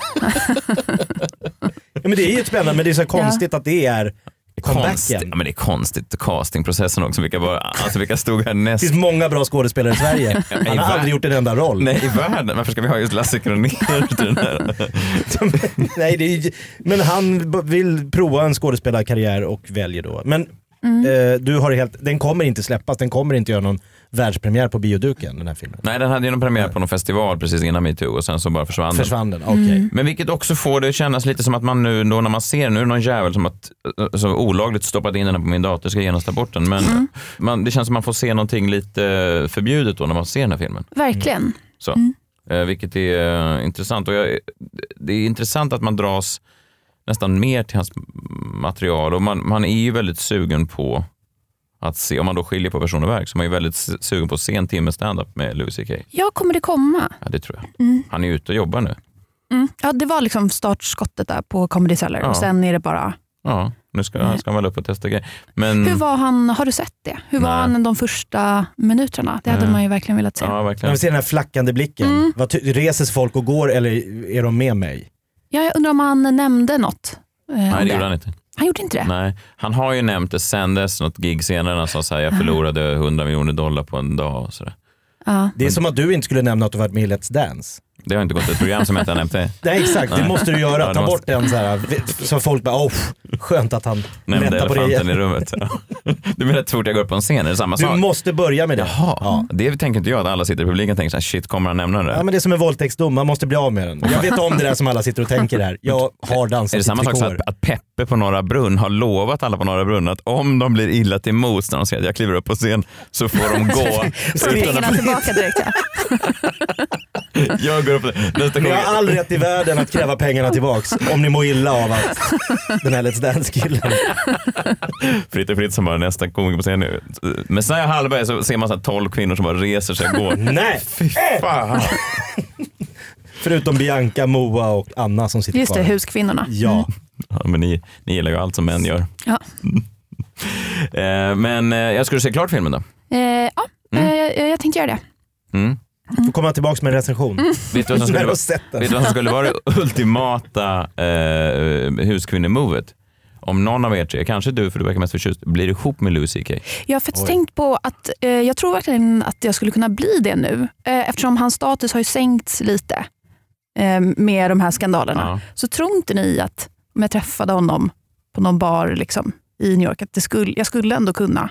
ja, men det är ju ett spännande, men det är så här konstigt att det är
Konstigt,
comebacken.
ja, men det är konstigt, castingprocessen också, vilka, bara, alltså, vilka stod
Det
härnäst?
finns många bra skådespelare i Sverige.
Ja,
Han
i
har
vär-
aldrig gjort en enda roll.
Nej, i världen. Varför ska vi ha just Lasse Kronér till den
*laughs*
här?
Nej, det är, ju- men han b- vill prova en skådespelarkarriär och väljer då. Men eh, du har helt, den kommer inte släppas, den kommer inte göra någon världspremiär på bioduken den här filmen.
Nej, den hade ju någon premiär på någon festival precis innan metoo och sen så bara försvann,
Försvann den, okej. Mm.
Men vilket också får det kännas lite som att man nu då när man ser, nu är det någon jävel som att, så olagligt stoppat in den här på min dator, ska genast ta bort den. Men man, det känns som att man får se någonting lite eh, förbjudet då när man ser den här filmen.
Verkligen.
Så. Eh, vilket är eh, intressant. Och jag, det är intressant att man dras nästan mer till hans material. Och man, man är ju väldigt sugen på att se, om man då skiljer på person och verk, så man är ju väldigt s- sugen på att se en timme standup med Louis CK.
Ja, kommer det komma?
Ja, det tror jag.
Mm.
Han är ute och jobbar nu.
Mm. Ja, det var liksom startskottet där på Comedy Cellar
Ja.
och sen är det bara...
Ja, nu ska, ska han väl upp och testa grejer. Men,
Mm. Hur var han, har du sett det? Hur var
Mm. Nej.
han de första minuterna? Det hade
Nej.
man ju verkligen velat se.
Ja,
När
verkligen.
vi ser den här flackande blicken,
Mm.
vad ty- reser sig folk och går eller är de med mig?
Ja, jag undrar om han nämnde något. eh, om
Nej, det gjorde han inte.
Han gjorde inte det?
Nej, han har ju nämnt det sen dess, något gig senare, när han sa så här, jag förlorade 100 miljoner dollar på en dag. Och så där.
Ja.
Det är som att du inte skulle nämna att du varit med i Let's Dance.
Det har inte gått ett program som heter han
*laughs*
nämnde.
Nej exakt, det
Nej.
måste du
Ja,
göra.
det
Ta
måste-
bort den så här, så folk bara oh, skönt att han
Nämnde
lättar på det.
elefanten i rummet. *laughs* Du menar att så fort jag går upp på en scen är det samma
Du
sak?
måste börja med det. Ja.
Det tänker inte jag att alla sitter i publiken och tänker så här, shit kommer han nämna det?
Ja, men det är som en våldtäktsdom, man måste bli av med den. Jag vet om det där som alla sitter och tänker här. Jag har dansat
är det samma
i
sak som
trikåer.
att, att Peppe på Norra Brunn har lovat alla på Norra Brunn att om de blir illa till mots när de ser att jag kliver upp på scen så får de gå.
*laughs* Får de
utan
pengarna
att-
tillbaka direkt? Ja.
jag går upp nästa
Ni
gång.
har all rätt i världen att kräva pengarna tillbaks om ni mår illa av att den här Let's Dance-killen.
*laughs* Fritte Fritzson bara nästa komiker på scen nu. Men Snäja Hallberg så ser man så här 12 kvinnor som bara reser sig och går.
Nej!
Fy fan.
Förutom Bianca, Moa och Anna som sitter
Just det, Mm.
kvar.
huskvinnorna.
Ja.
Ja, men ni, ni gillar ju allt som män gör.
Ja.
*laughs* Eh, Men eh, jag skulle se klart filmen då.
Eh, ja, eh, jag, jag tänkte göra det.
Mm.
Får komma tillbaks med en recension.
Vet du vad som
När
skulle
du Mm. har
vara,
sett den.
vet du vad som skulle vara det ultimata eh, huskvinnemovet? Om någon av er tre, kanske du för du verkar mest förtjust, blir ihop med Louis CK.
Jag har faktiskt
Oj.
tänkt på att eh, jag tror verkligen att jag skulle kunna bli det nu. Eh, eftersom hans status har ju sänkts lite eh, med de här skandalerna.
Ja.
Så tror inte ni att om jag träffade honom på någon bar liksom, i New York, att det skulle, jag skulle ändå kunna?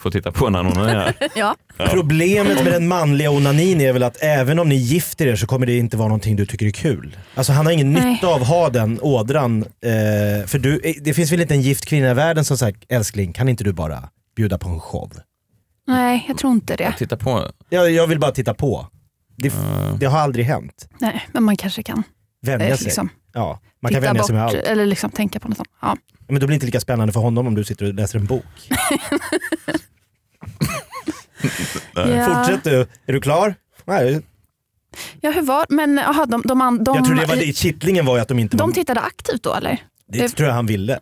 Får titta på när någon
*laughs*
är
Ja.
Problemet med den manliga onanin är väl att även om ni gifter er så kommer det inte vara någonting du tycker är kul. Alltså han har ingen
Nej.
nytta av att ha den ådran. Eh, för du, eh, det finns väl inte en gift kvinna i världen som säger älskling kan inte du bara bjuda på en show?
Nej, jag tror inte det.
Titta på.
Jag, jag vill bara titta på. Det, det har aldrig hänt.
Nej, men man kanske kan
Vänja
Eh,
sig.
liksom.
Ja, man kan vänja sig med
bort
allt.
eller liksom tänka på något annat. Ja.
Men då blir det inte lika spännande för honom om du sitter och läser en bok.
Ja.
Eh, Fortsätt du. Är du klar? Nej,
Ja, hur var Men aha, de, de, an- de,
jag tror det var det. Kittlingen var ju att de inte
de
var...
tittade aktivt då eller?
Det tror jag han ville.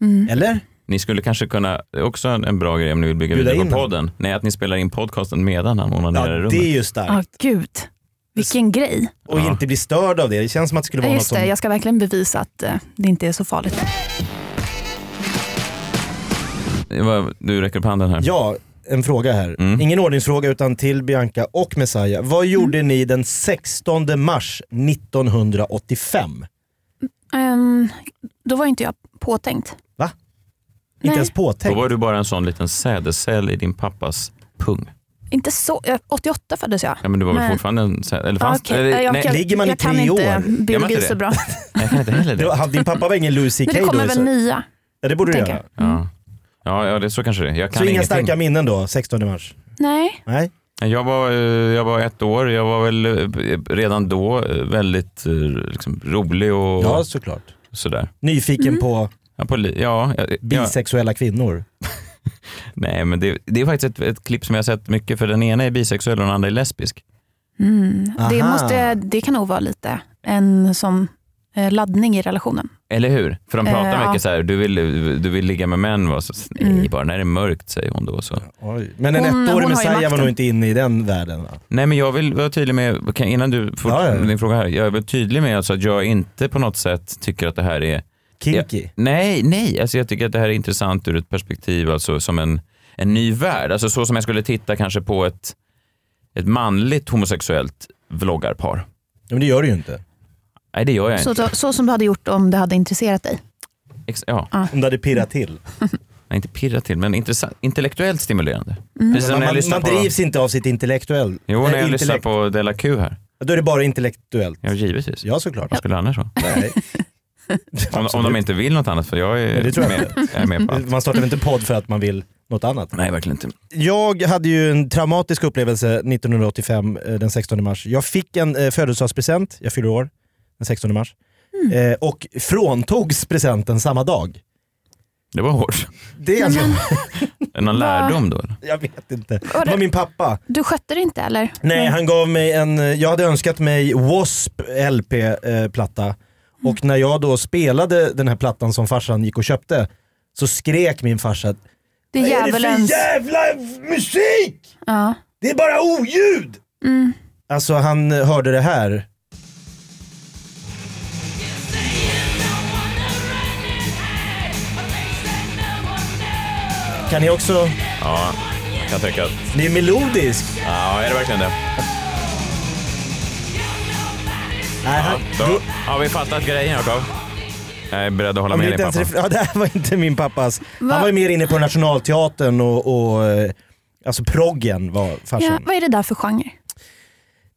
Mm.
Eller?
Ni skulle kanske kunna, det är också en, en bra grej om ni vill bygga
Bjuda
vidare
in
på
honom.
podden, nej att ni spelar in podcasten medan han onanerar i
Ja,
rummet.
det är ju starkt.
Ja, gud. Vilken grej.
och inte bli störd av det. Det känns som att det skulle
Ja,
vara något
just
som...
det, jag ska verkligen bevisa att eh, det inte är så farligt.
Vad- Du räcker upp handen här.
Ja, en fråga här.
Mm.
Ingen ordningsfråga utan till Bianca och Messiah.
Mm.
Vad gjorde ni den 16 mars 1985?
Ehm, då var inte jag påtänkt.
Va?
Nej.
Inte ens
Då
påtänkt?
var du bara en sån liten sädescell i din pappas pung.
Inte så, eh, 88 föddes jag.
Ja, men du var väl
Men-
fortfarande en sädescell? Eller
Ja,
fanns
okej.
eller,
Eh, jag kan-
Ligger man i
jag kan
tre
inte
år?
eh,
Gör man
biologi
inte
så
det?
*laughs*
bra.
Jag kan inte heller
Det
det.
var, din pappa var ingen Louis CK
Men
då?
det kommer
så-
väl nia.
Ja, det borde du
tänker
göra.
Ja. Ja, ja det, så kanske det är. Jag kan
Så inga
ingenting.
starka minnen då, 16 mars?
Nej.
Nej.
Jag var, eh, jag var ett år, jag var väl eh, redan då eh, väldigt eh, liksom, rolig och
Ja, såklart.
sådär.
Nyfiken
Mm.
på
Ja, på, li- ja, jag, jag,
bisexuella kvinnor.
nej, men det, det är faktiskt ett, ett klipp som jag har sett mycket för den ena är bisexuell och den andra är lesbisk.
Mm. Det,
Aha.
måste, det kan nog vara lite en sån eh, laddning i relationen.
Eller hur? För de pratar
Eh, ja.
mycket så här, du vill, du vill ligga med män va? Så, nej
Mm.
bara, när det är mörkt säger hon då. Så.
Men en
Hon- hon har
ettårig
ju
Messiah var
makten.
nog inte inne i den världen va?
Nej men jag vill vara tydlig med, kan- innan du får din fråga här, jag är väl tydlig med alltså att jag inte på något sätt tycker att det här är
Kinky?
Jag, nej, nej, alltså jag tycker att det här är intressant ur ett perspektiv, alltså som en, en ny värld. Alltså så som jag skulle titta kanske på ett, ett manligt homosexuellt vloggarpar.
Ja, men det gör du ju inte.
Nej det gör jag
Så,
inte.
så, så som du hade gjort om det hade intresserat dig.
Ex- ja.
Ja.
Om det hade pirrat till.
Nej, inte pirra till, men intressant, intellektuellt stimulerande.
Men
Precis som när jag
Man,
lyssnar
man
på-
drivs inte av sitt intellektuell.
Jo, när
Nej,
jag lyssnar
intellekt.
på Della Q här.
Då är det bara intellektuellt.
Ja, givetvis.
Ja, såklart.
Vad skulle annars vara?
Nej.
*laughs* Om, om de inte vill något annat, för jag är,
Nej, det tror jag
med, jag är med på
*laughs*
allt.
Man startar väl inte en podd för att man vill något annat?
Nej, verkligen inte.
Jag hade ju en traumatisk upplevelse 1985, eh, den 16 mars. Jag fick en eh, födelsedagspresent, jag fyller år, den 16 mars. Eh, och fråntogs presenten samma dag.
Det var hårt.
Det är alltså,
Är det Någon lärdom då? eller?
*laughs* jag vet inte. Det var min pappa.
Du skötte det inte eller? Mm.
Nej, han gav mig en, eh, jag hade önskat mig W.A.S.P. LP-platta. eh,
Mm.
Och när jag då spelade den här plattan som farsan gick och köpte, så skrek min farsa att
Det är djävulens...
jävla musik?
Ja.
Det är bara oljud!
Mm.
Alltså han hörde det här. Kan ni också?
Ja, jag tycker att...
Det är melodiskt.
Ja, är det verkligen det? Ja, då har vi fattat grejen, Jakob. Jag är beredd att hålla
Om det
med
inte
dig,
ens
pappa.
refer- ja, det här var inte min pappas.
Va?
Han var ju mer inne på Nationalteatern och, och eh, alltså proggen var farsan.
Ja, vad är det där för genre?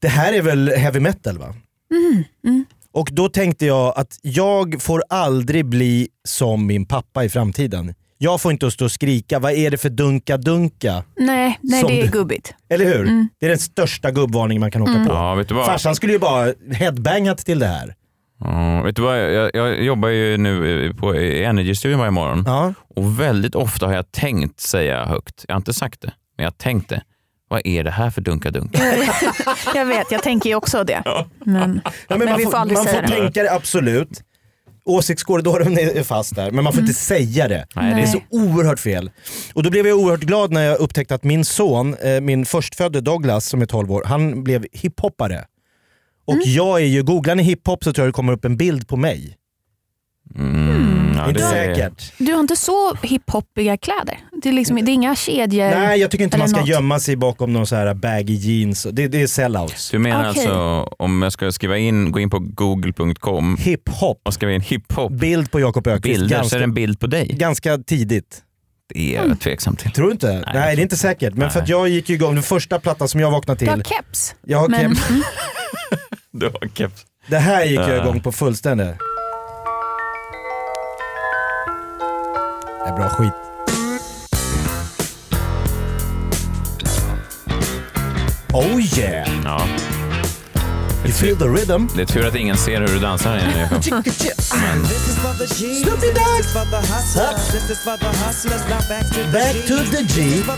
Det här är väl heavy metal va?
Mm. Mm.
Och då tänkte jag att jag får aldrig bli som min pappa i framtiden. Jag får inte stå och skrika, vad är det för dunka-dunka?
Nej, nej
Som
det är
du-
gubbigt.
Eller hur?
Mm.
Det är den största gubbvarning man kan åka på.
Ja, vet du vad?
Farsan skulle ju bara headbangat till det här.
Ja, vet du vad? Jag, jag jobbar ju nu eh, på i Energy-studion varje morgon. Och väldigt ofta har jag tänkt säga högt. Jag har inte sagt det, men jag har tänkt det. Vad är det här för dunka-dunka?
jag vet, jag tänker ju också det. Men,
Ja,
men,
man
vi får, aldrig
man
säga
får
det.
tänka det, absolut. Åsiktskorridoren är fast där, men man
Mm.
får inte säga det.
Nej,
Det är
det-
så oerhört fel. Och då blev jag oerhört glad när jag upptäckte att min son, eh, min förstfödde Douglas som är 12 år, han blev hiphoppare. Och
Mm.
jag är ju, googlar ni hiphop så tror jag det kommer upp en bild på mig.
Mm, ja,
inte
det är-
säkert.
Du har inte så hiphoppiga kläder? Det är, liksom, det är inga kedjor?
Nej, jag tycker inte
eller
man ska
något.
gömma sig bakom någon så här baggy jeans. Det, det är sellouts.
Du menar
Okej.
alltså om jag ska skriva in, gå in på google.com
Hiphop.
och skriva in hiphop
Bild på Jakob Ökvist.
bilder så
ganska,
är det en bild på dig?
ganska tidigt.
Det är jag tveksam till.
Tror du inte? Nej, det är inte säkert. Men för att jag gick ju igång, den första plattan som jag vaknade
Du har
till.
keps?
Jag har
men,
keps.
Mm.
Du har keps.
*laughs* Det här gick jag
Äh.
igång på fullständigt. Det är bra skit. Oh yeah!
Ja.
You feel the rhythm.
Det är tur att ingen ser hur du dansar. Jenny Jakob.
Snoopy Dogg! Up. Back to the G. Yep.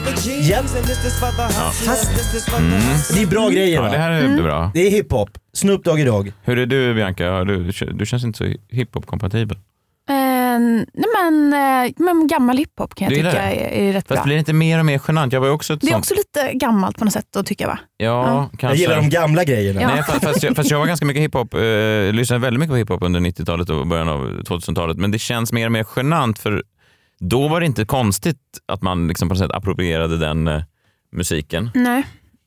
Mm.
Det är bra grejer
Ja,
va?
det här är bra.
Det är hiphop. Snoop Dogg idag.
Hur är du Bianca? Ja, Du, du känns inte så hiphop-kompatibel.
Eh, nej, men, eh, men gammal hiphop kan jag
Du gillar
tycka
det?
är, är rätt
Fast
bra.
blir det inte mer och mer genant? Jag var ju också ett
Det är
sånt.
också lite gammalt på något sätt att tycka va?
Ja,
Jag
kanske.
gillar de gamla grejerna.
Ja.
Nej, fa- fast, jag, fast jag var ganska mycket hiphop, eh, lyssnade väldigt mycket på hiphop under 90-talet och början av 2000-talet. Men det känns mer och mer genant för då var det inte konstigt att man liksom på något sätt approprierade den eh, musiken.
Nej.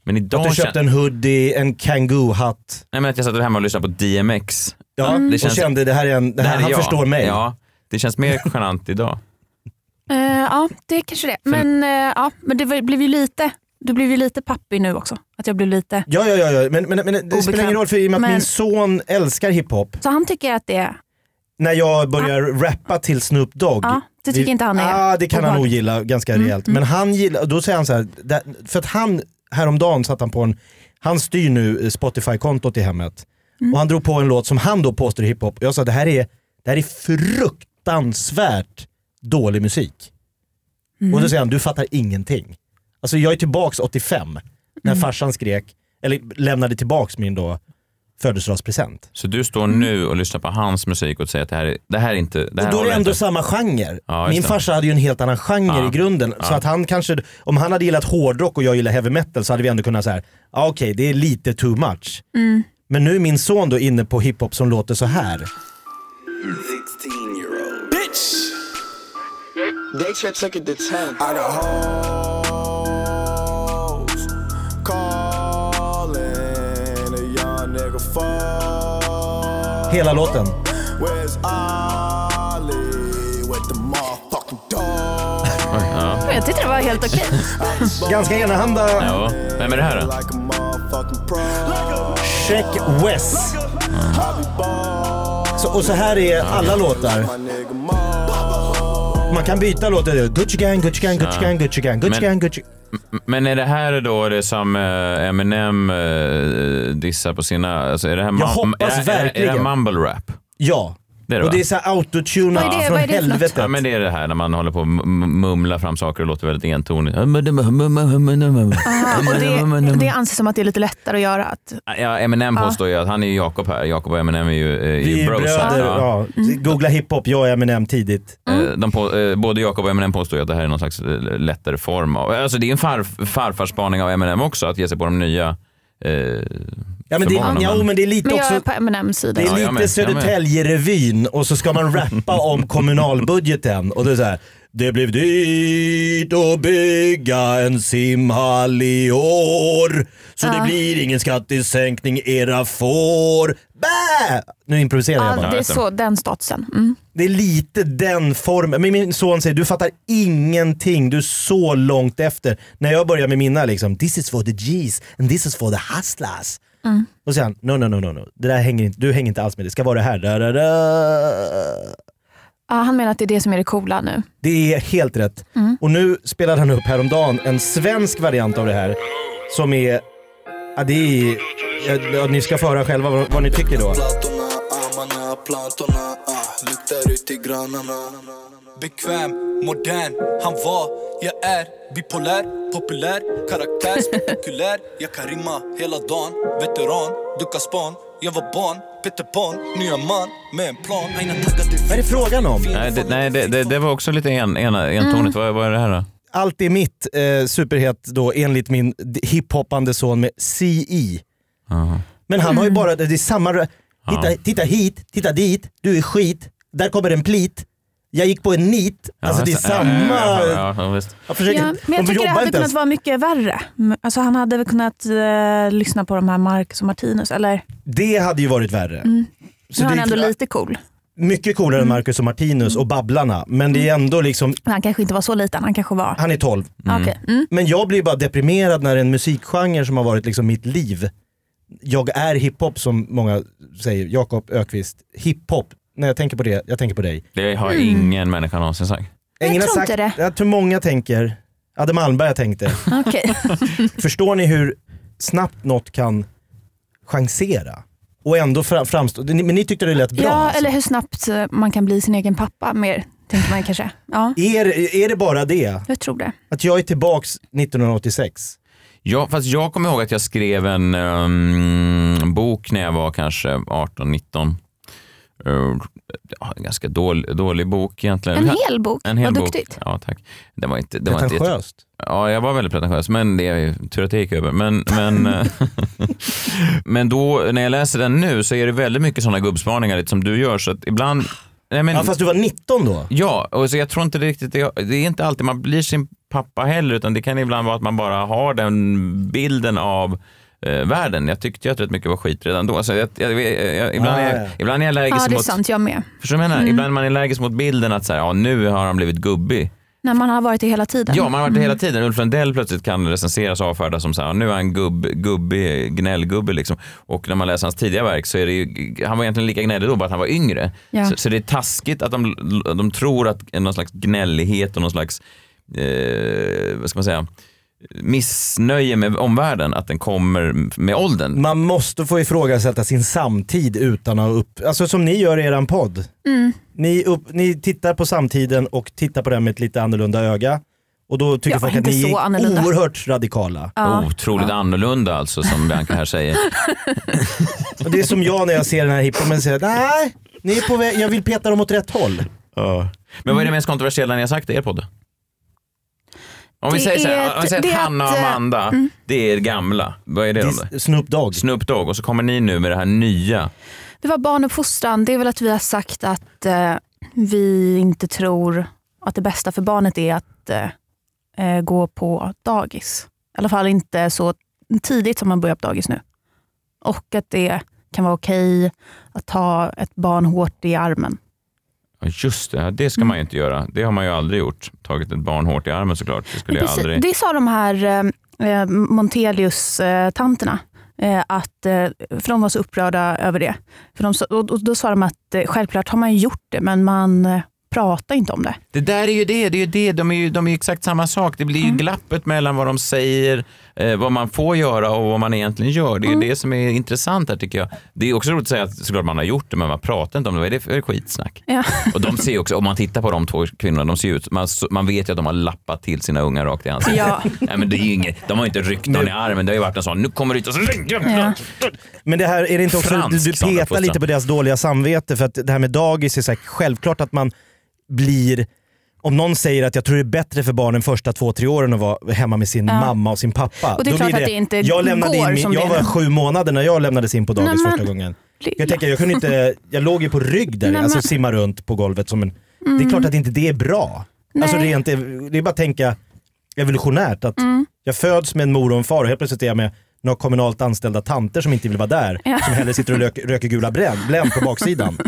Men idag
Att du köpte en hoodie, en Kangoo-hatt.
Nej, men att jag satt hemma och lyssnade på DMX.
Ja,
Det
och
känns-
kände det här är en, det här,
är
han
jag.
förstår mig.
Ja, det känns mer genant idag.
Eh, ja, det är kanske det. Men, eh, ja, men det var- blev ju lite, du blev ju lite pappig nu också. Att jag blev lite...
Ja, ja, ja, ja. Men, men, men det spelar ingen roll för i och med att
Men-
min son älskar hiphop.
Så han tycker att det är...
När jag börjar rappa till Snoop Dogg
Ja, Det Ah. tycker inte han är
Ah, det kan han nog
ohagligt.
gilla ganska
Mm,
rejält.
mm.
Men han gillar, då säger han så här, där- för att han, häromdagen satt han på en, han styr nu eh, Spotify-kontot i hemmet.
Mm.
Och han drog på en låt som han då påstår är hiphop. Jag sa det här är, det här är fruktansvärt dålig musik.
Mm.
Och då säger han, du fattar ingenting. Alltså jag är tillbaks 85, när
Mm.
farsan skrek, eller lämnade tillbaks min då födelsedagspresent.
Så du står nu och lyssnar på hans musik och säger att det här är, det här är inte... Det här
Och då är
håller
det ändå
inte.
samma genre.
Ja, just
Min
det.
farsa hade ju en helt annan genre
Ja.
i grunden. Så
Ja.
att han kanske, om han hade gillat hårdrock och jag gillar heavy metal så hade vi ändå kunnat säga, ah, okej det är lite too much.
Mm.
Men nu är min son då inne på hiphop som låter så här.
16 year old. Bitch! They try to take it to 10. I got hoes calling a young nigga fall.
Hela låten.
Where's Ollie with the motherfucking dog?
Ja.
Jag tyckte det var helt okej.
Ganska enahanda.
Ja. Vem är det här då?
Check Wes. Så, och så här är alla låtar. Man kan byta låtar. Gucci gang, Gucci gang, Gucci
Ja.
gang, Gucci gang, Gucci
Men-
gang, Gucci
M- Men är det här då det som eh, Eminem eh, dissar på sina... Alltså är det här
Jag hoppas
är det, här- är, det- är det här
verkligen.
mumble rap?
Ja.
Det är det,
Och
va?
det är så här autotunat
Vad är det-
från
vad är det för något?
helvetet.
Ja, men det är det här när man håller på och m- mumlar fram saker och låter väldigt entonigt. Aha,
*laughs*
Och det, det anses som att det är lite lättare att göra. Att,
Ja, Eminem
Ja.
påstår ju att han är ju Jakob här. Jakob och Eminem är ju, eh, är
Vi
ju
är
bros här.
bröder. Mm.
Ja.
Ja. Googla hiphop, jag är Eminem tidigt.
Eh, De på, eh, både Jakob och Eminem påstår ju att det här är någon slags eh, lättare form av... Alltså det är en farf, farfarsspaning av Eminem också, att ge sig på de nya... Eh,
Ja, men det, är- ja, men det är lite
men jag
också...
är på Eminems
Det
sida.
är lite Södertäljerevyn och så ska man
*laughs*
rappa om kommunalbudgeten och det är så här. Det blev dyrt att bygga en simhall i år så
Ja.
det blir ingen skattesänkning era får. Bä! Nu improviserar jag
Ja,
bara.
det är så, den statusen. Mm.
Det är lite den formen. Men min son säger du fattar ingenting, du är så långt efter. När jag börjar med mina liksom, this is for the G's and this is for the hustlers.
Mm.
Och sen, no, no, no, no, no. Det där hänger inte, du hänger inte alls med, det ska vara det här. Da, da, da.
Ja, han menar att det är det som är det coola nu.
Det är helt rätt.
Mm.
Och nu spelade han upp häromdagen en svensk variant av det här som är, ja det är, ja, ja, ni ska föra själva vad, vad ni tycker då.
Plattorna, armarna, plantorna, ah, luktar ut i grannarna. Bekväm, modern, han var, jag är bipolär, populär, karaktär, spektakulär. Jag kan rimma hela dagen, veteran, ducka span. Jag var barn, Peter Pan, nu är jag man med en plan. Aina taggad i
Vad är det frågan om?
Nej, det, nej det, det, det var också lite en, en, entonigt.
Mm.
Vad, vad är det här då?
Allt är mitt, eh, superhet då enligt min d- hiphoppande son med CI. Men han
Mm.
har ju bara, det är samma, rö- titta, titta hit, titta dit, du är skit, där kommer en plit, jag gick på en nit. Alltså det är
Ja, Ja,
samma.
ja, ja, visst.
Jag försöker,
ja, men jag
de
tycker det
jobbar
hade
inte
kunnat
ens.
vara mycket värre. Mm, Alltså, han hade väl kunnat eh, lyssna på de här Marcus och Martinus. Eller,
Det hade ju varit värre.
mm.
Så
nu är han
det är
ändå
klart-
lite Mm. cool.
Mycket coolare än Marcus och Martinus och Babblarna, men det
Mm.
är ändå liksom,
Men han kanske inte var så liten, han kanske var...
han är 12.
Mm. Okej. Mm.
Men jag blir bara deprimerad när en musikgenre som har varit liksom mitt liv, jag är hiphop som många säger, Jakob Ökvist, hiphop, när jag tänker på det, jag tänker på dig.
Det har
Mm.
ingen människa någonsin sagt.
Jag
Ingen har
tror inte
sagt, Jag tror många tänker, Adde Malmberg tänkte.
*laughs* Mm, Okej.
Förstår ni hur snabbt något kan chansera? Och ändå fra- framstå, ni- men ni tyckte det lät bra?
ja,
alltså.
eller hur snabbt eh, man kan bli sin egen pappa mer, tänker man kanske. Ja,
är, är det bara det?
jag tror det.
Att jag är tillbaks 1986?
Ja, fast jag kommer ihåg att jag skrev en ehm, bok när jag var kanske 18-19. Eh, ja, en ganska dålig, dålig bok egentligen.
En hel bok?
En hel
Vad
bok.
duktigt.
Ja, tack. Det var inte... Det var inte jätte-
Pretentiöst?
Ja, jag var väldigt pretentiös, men det är ju tur att det gick över. Men, men, eh, *laughs* men då, när jag läser den nu så är det väldigt mycket sådana gubbspaningar lite som du gör, så att ibland... Nej, men,
Ja, fast du var 19 då?
Ja, och så jag tror inte det riktigt, det det är inte alltid man blir sin pappa heller, utan det kan ibland vara att man bara har den bilden av eh, världen. Jag tyckte ju att rätt mycket var skit redan då. Så jag, jag, jag, jag, ibland, är
Ah,
jag,
ja.
ibland är jag allergisk
Ja, det är
mot...
sant. Jag med.
Förstår du vad jag menar?
Mm.
Ibland är man allergisk mot bilden att så här, ja, nu har han blivit gubbig.
När man har varit det hela tiden.
Ja, man har varit det hela
Mm.
tiden. Ulf Lundell plötsligt kan recenseras och avfärdas som så här, nu är han gubb, gubbig, gnällgubbe liksom. Och när man läser hans tidiga verk så är det ju, han var egentligen lika gnällig då, bara att han var yngre.
Ja.
Så, så det är taskigt att de, de tror att någon slags gnällighet och någon slags, eh, vad ska man säga, missnöje med omvärlden, att den kommer med åldern.
Man måste få ifrågasätta sin samtid utan att upp... Alltså som ni gör i eran podd.
Mm.
Ni, upp, ni tittar på samtiden och tittar på den med ett lite annorlunda öga. Och då tycker
Ja,
folk att
inte
ni
så
är
annorlunda.
oerhört radikala.
Ja.
Otroligt annorlunda alltså, som Bianca här säger.
Och det är som jag när jag ser den här hiphopen och säger nej, ni är på väg, jag vill peta dem åt rätt håll.
Men vad
Mm.
är det mest kontroversiella ni har sagt i er podd? Om vi
Det
säger, så
är
här,
ett-
om vi säger
det är
att Hanna och
att, eh,
Amanda,
mm.
det är gamla. Vad är det,
Det är
då?
Snoop Dogg.
Snoop Dogg och så kommer ni nu med det här nya.
Det var barnuppfostran. Det är väl att vi har sagt att eh, vi inte tror att det bästa för barnet är att eh, eh, gå på dagis. I alla fall inte så tidigt som man börjar på dagis nu. Och att det kan vara okej att ta ett barn hårt i armen.
Ja, Just det, ja, det ska
Mm.
man ju inte göra. Det har man ju aldrig gjort. Tagit ett barn hårt i armen såklart. Det skulle jag
Precis.
aldrig.
Det sa de här eh, eh, Montelius-tanterna. Eh, att, eh, för de var så upprörda över det. För de, sa- och, och då sa de att eh, självklart har man ju gjort det, men man eh, pratar inte om det.
Det där är ju det, det är ju det. De är ju, de är ju exakt samma sak. Det blir
Mm.
ju glappet mellan vad de säger, eh, vad man får göra och vad man egentligen gör. Det är ju
Mm.
det som är intressant här tycker jag. Det är också roligt att säga att såklart man har gjort det, men man pratar inte om det. Vad är det för skitsnack?
Ja.
Och de ser ju också, om man tittar på de två kvinnorna, de ser ju ut, man, man vet ju att de har lappat till sina ungar rakt i ansiktet.
Ja.
Nej, men det är ju inget, de har ju inte ryckt någon i armen, det har ju varit en sån, nu kommer du hit och så...
Men det här, är det inte också,
Fransk
du, du petar
standardfostran.
lite på deras dåliga samvete för att det här med dagis är så här, självklart att man blir, om någon säger att jag tror det är bättre för barnen första två, tre åren att vara hemma med sin
Ja.
mamma och sin pappa.
Och det är
Då
klart
blir
att det inte
jag lämnade
går
in min,
som
Jag
det är.
var sju månader när jag lämnades in på dagis
Nej, men-
första gången. Jag, tänker, jag, kunde inte, jag låg ju på rygg där,
Nej,
alltså
men-
simma runt på golvet som en... Det
Mm.
är klart att inte det är bra.
Nej.
Alltså rent, det är bara att tänka evolutionärt att
Mm.
jag föds med en mor och en far och helt plötsligt är jag med några kommunalt anställda tanter som inte vill vara där.
Ja.
Som hellre sitter och rök, röker gula bränd, bländ på
*laughs*
baksidan.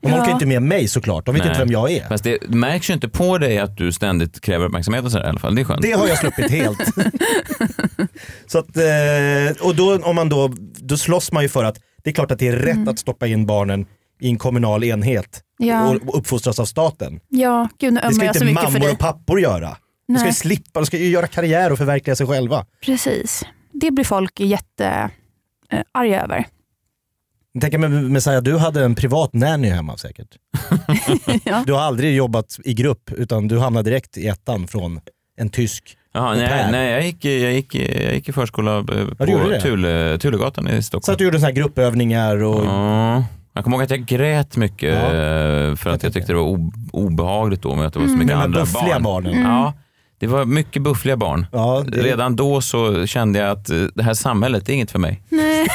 De
Ja.
orkar ju inte med mig såklart, de vet inte vem jag är.
Fast det märks ju inte på dig att du ständigt kräver uppmärksamhet och sådär, i alla fall. Det är skönt.
Det har jag sluppit helt. Så att, eh, och då, om man då, då slåss man ju för att det är klart att det är rätt
Mm.
att stoppa in barnen i en kommunal enhet
Ja.
och, och uppfostras av staten.
Ja, gud nu
Det ska
ömmar
ju
jag så
inte
mycket för
mammor
dig.
och pappor göra. De ska ju
Nej.
slippa, de ska ju göra karriär och förverkliga sig själva.
Precis. Det blir folk jättearga eh, arga över.
Jag tänker med Messiah, du hade en privat nanny hemma säkert.
*laughs* Ja.
Du har aldrig jobbat i grupp utan du hamnade direkt i ettan från en tysk
Jaha,
au pair.
nej, nej jag, gick, i- jag, gick, i- jag gick i förskola eh,
gjorde
på
det?
Tule, Tulegatan i Stockholm.
Så att du gjorde såna här gruppövningar och
Ja. Jag kommer ihåg att jag grät mycket
Ja.
eh, för att jag tyckte det var o- obehagligt då med att det var så
Mm.
mycket
De här
andra
buffliga
barn.
barnen. Mm.
Ja, det var mycket buffliga barn.
det-
Redan då så kände jag att eh, det här samhället, det är inget för mig.
Mm.
Nej.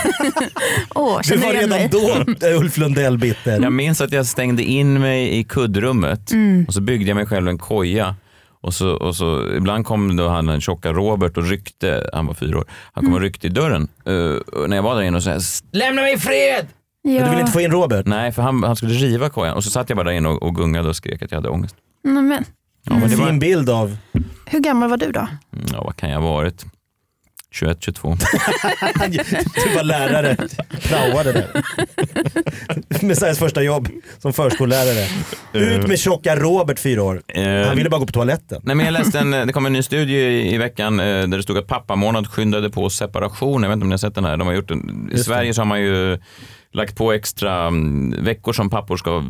Åh,
Du
känner
var
igen
redan
mig.
då eh, Ulf Lundell bitter.
Jag minns att jag stängde in mig i kuddrummet
Mm.
och så byggde jag mig själv en koja. Och så, och så, ibland kom då han, den tjocka Robert och ryckte, han var fyra år, han
Mm.
kom och ryckte i dörren eh, och när jag var där inne och så här, Lämna mig i fred!
Ja.
in Robert?
Nej, för han, han skulle riva kojan och så satt jag bara där inne och, och gungade och skrek att jag hade ångest.
Nej, men,
Ja, men det var,
Fin bild av...
hur gammal var du då?
Mm, ja, vad kan jag ha varit? 21,
*laughs*
22.
Du var lärare, praoade där. Messiahs första jobb som förskollärare. Ut med tjocka Robert fyra år.
Eh,
Han ville bara gå på toaletten.
Nej, men jag läste en, eh, det kom en ny studie i, i veckan eh, där det stod att pappamånad skyndade på separation. Jag vet inte om ni har sett den här. De har gjort en, I
Just det.
Sverige så har man ju eh, lagt på extra mm, veckor som pappor ska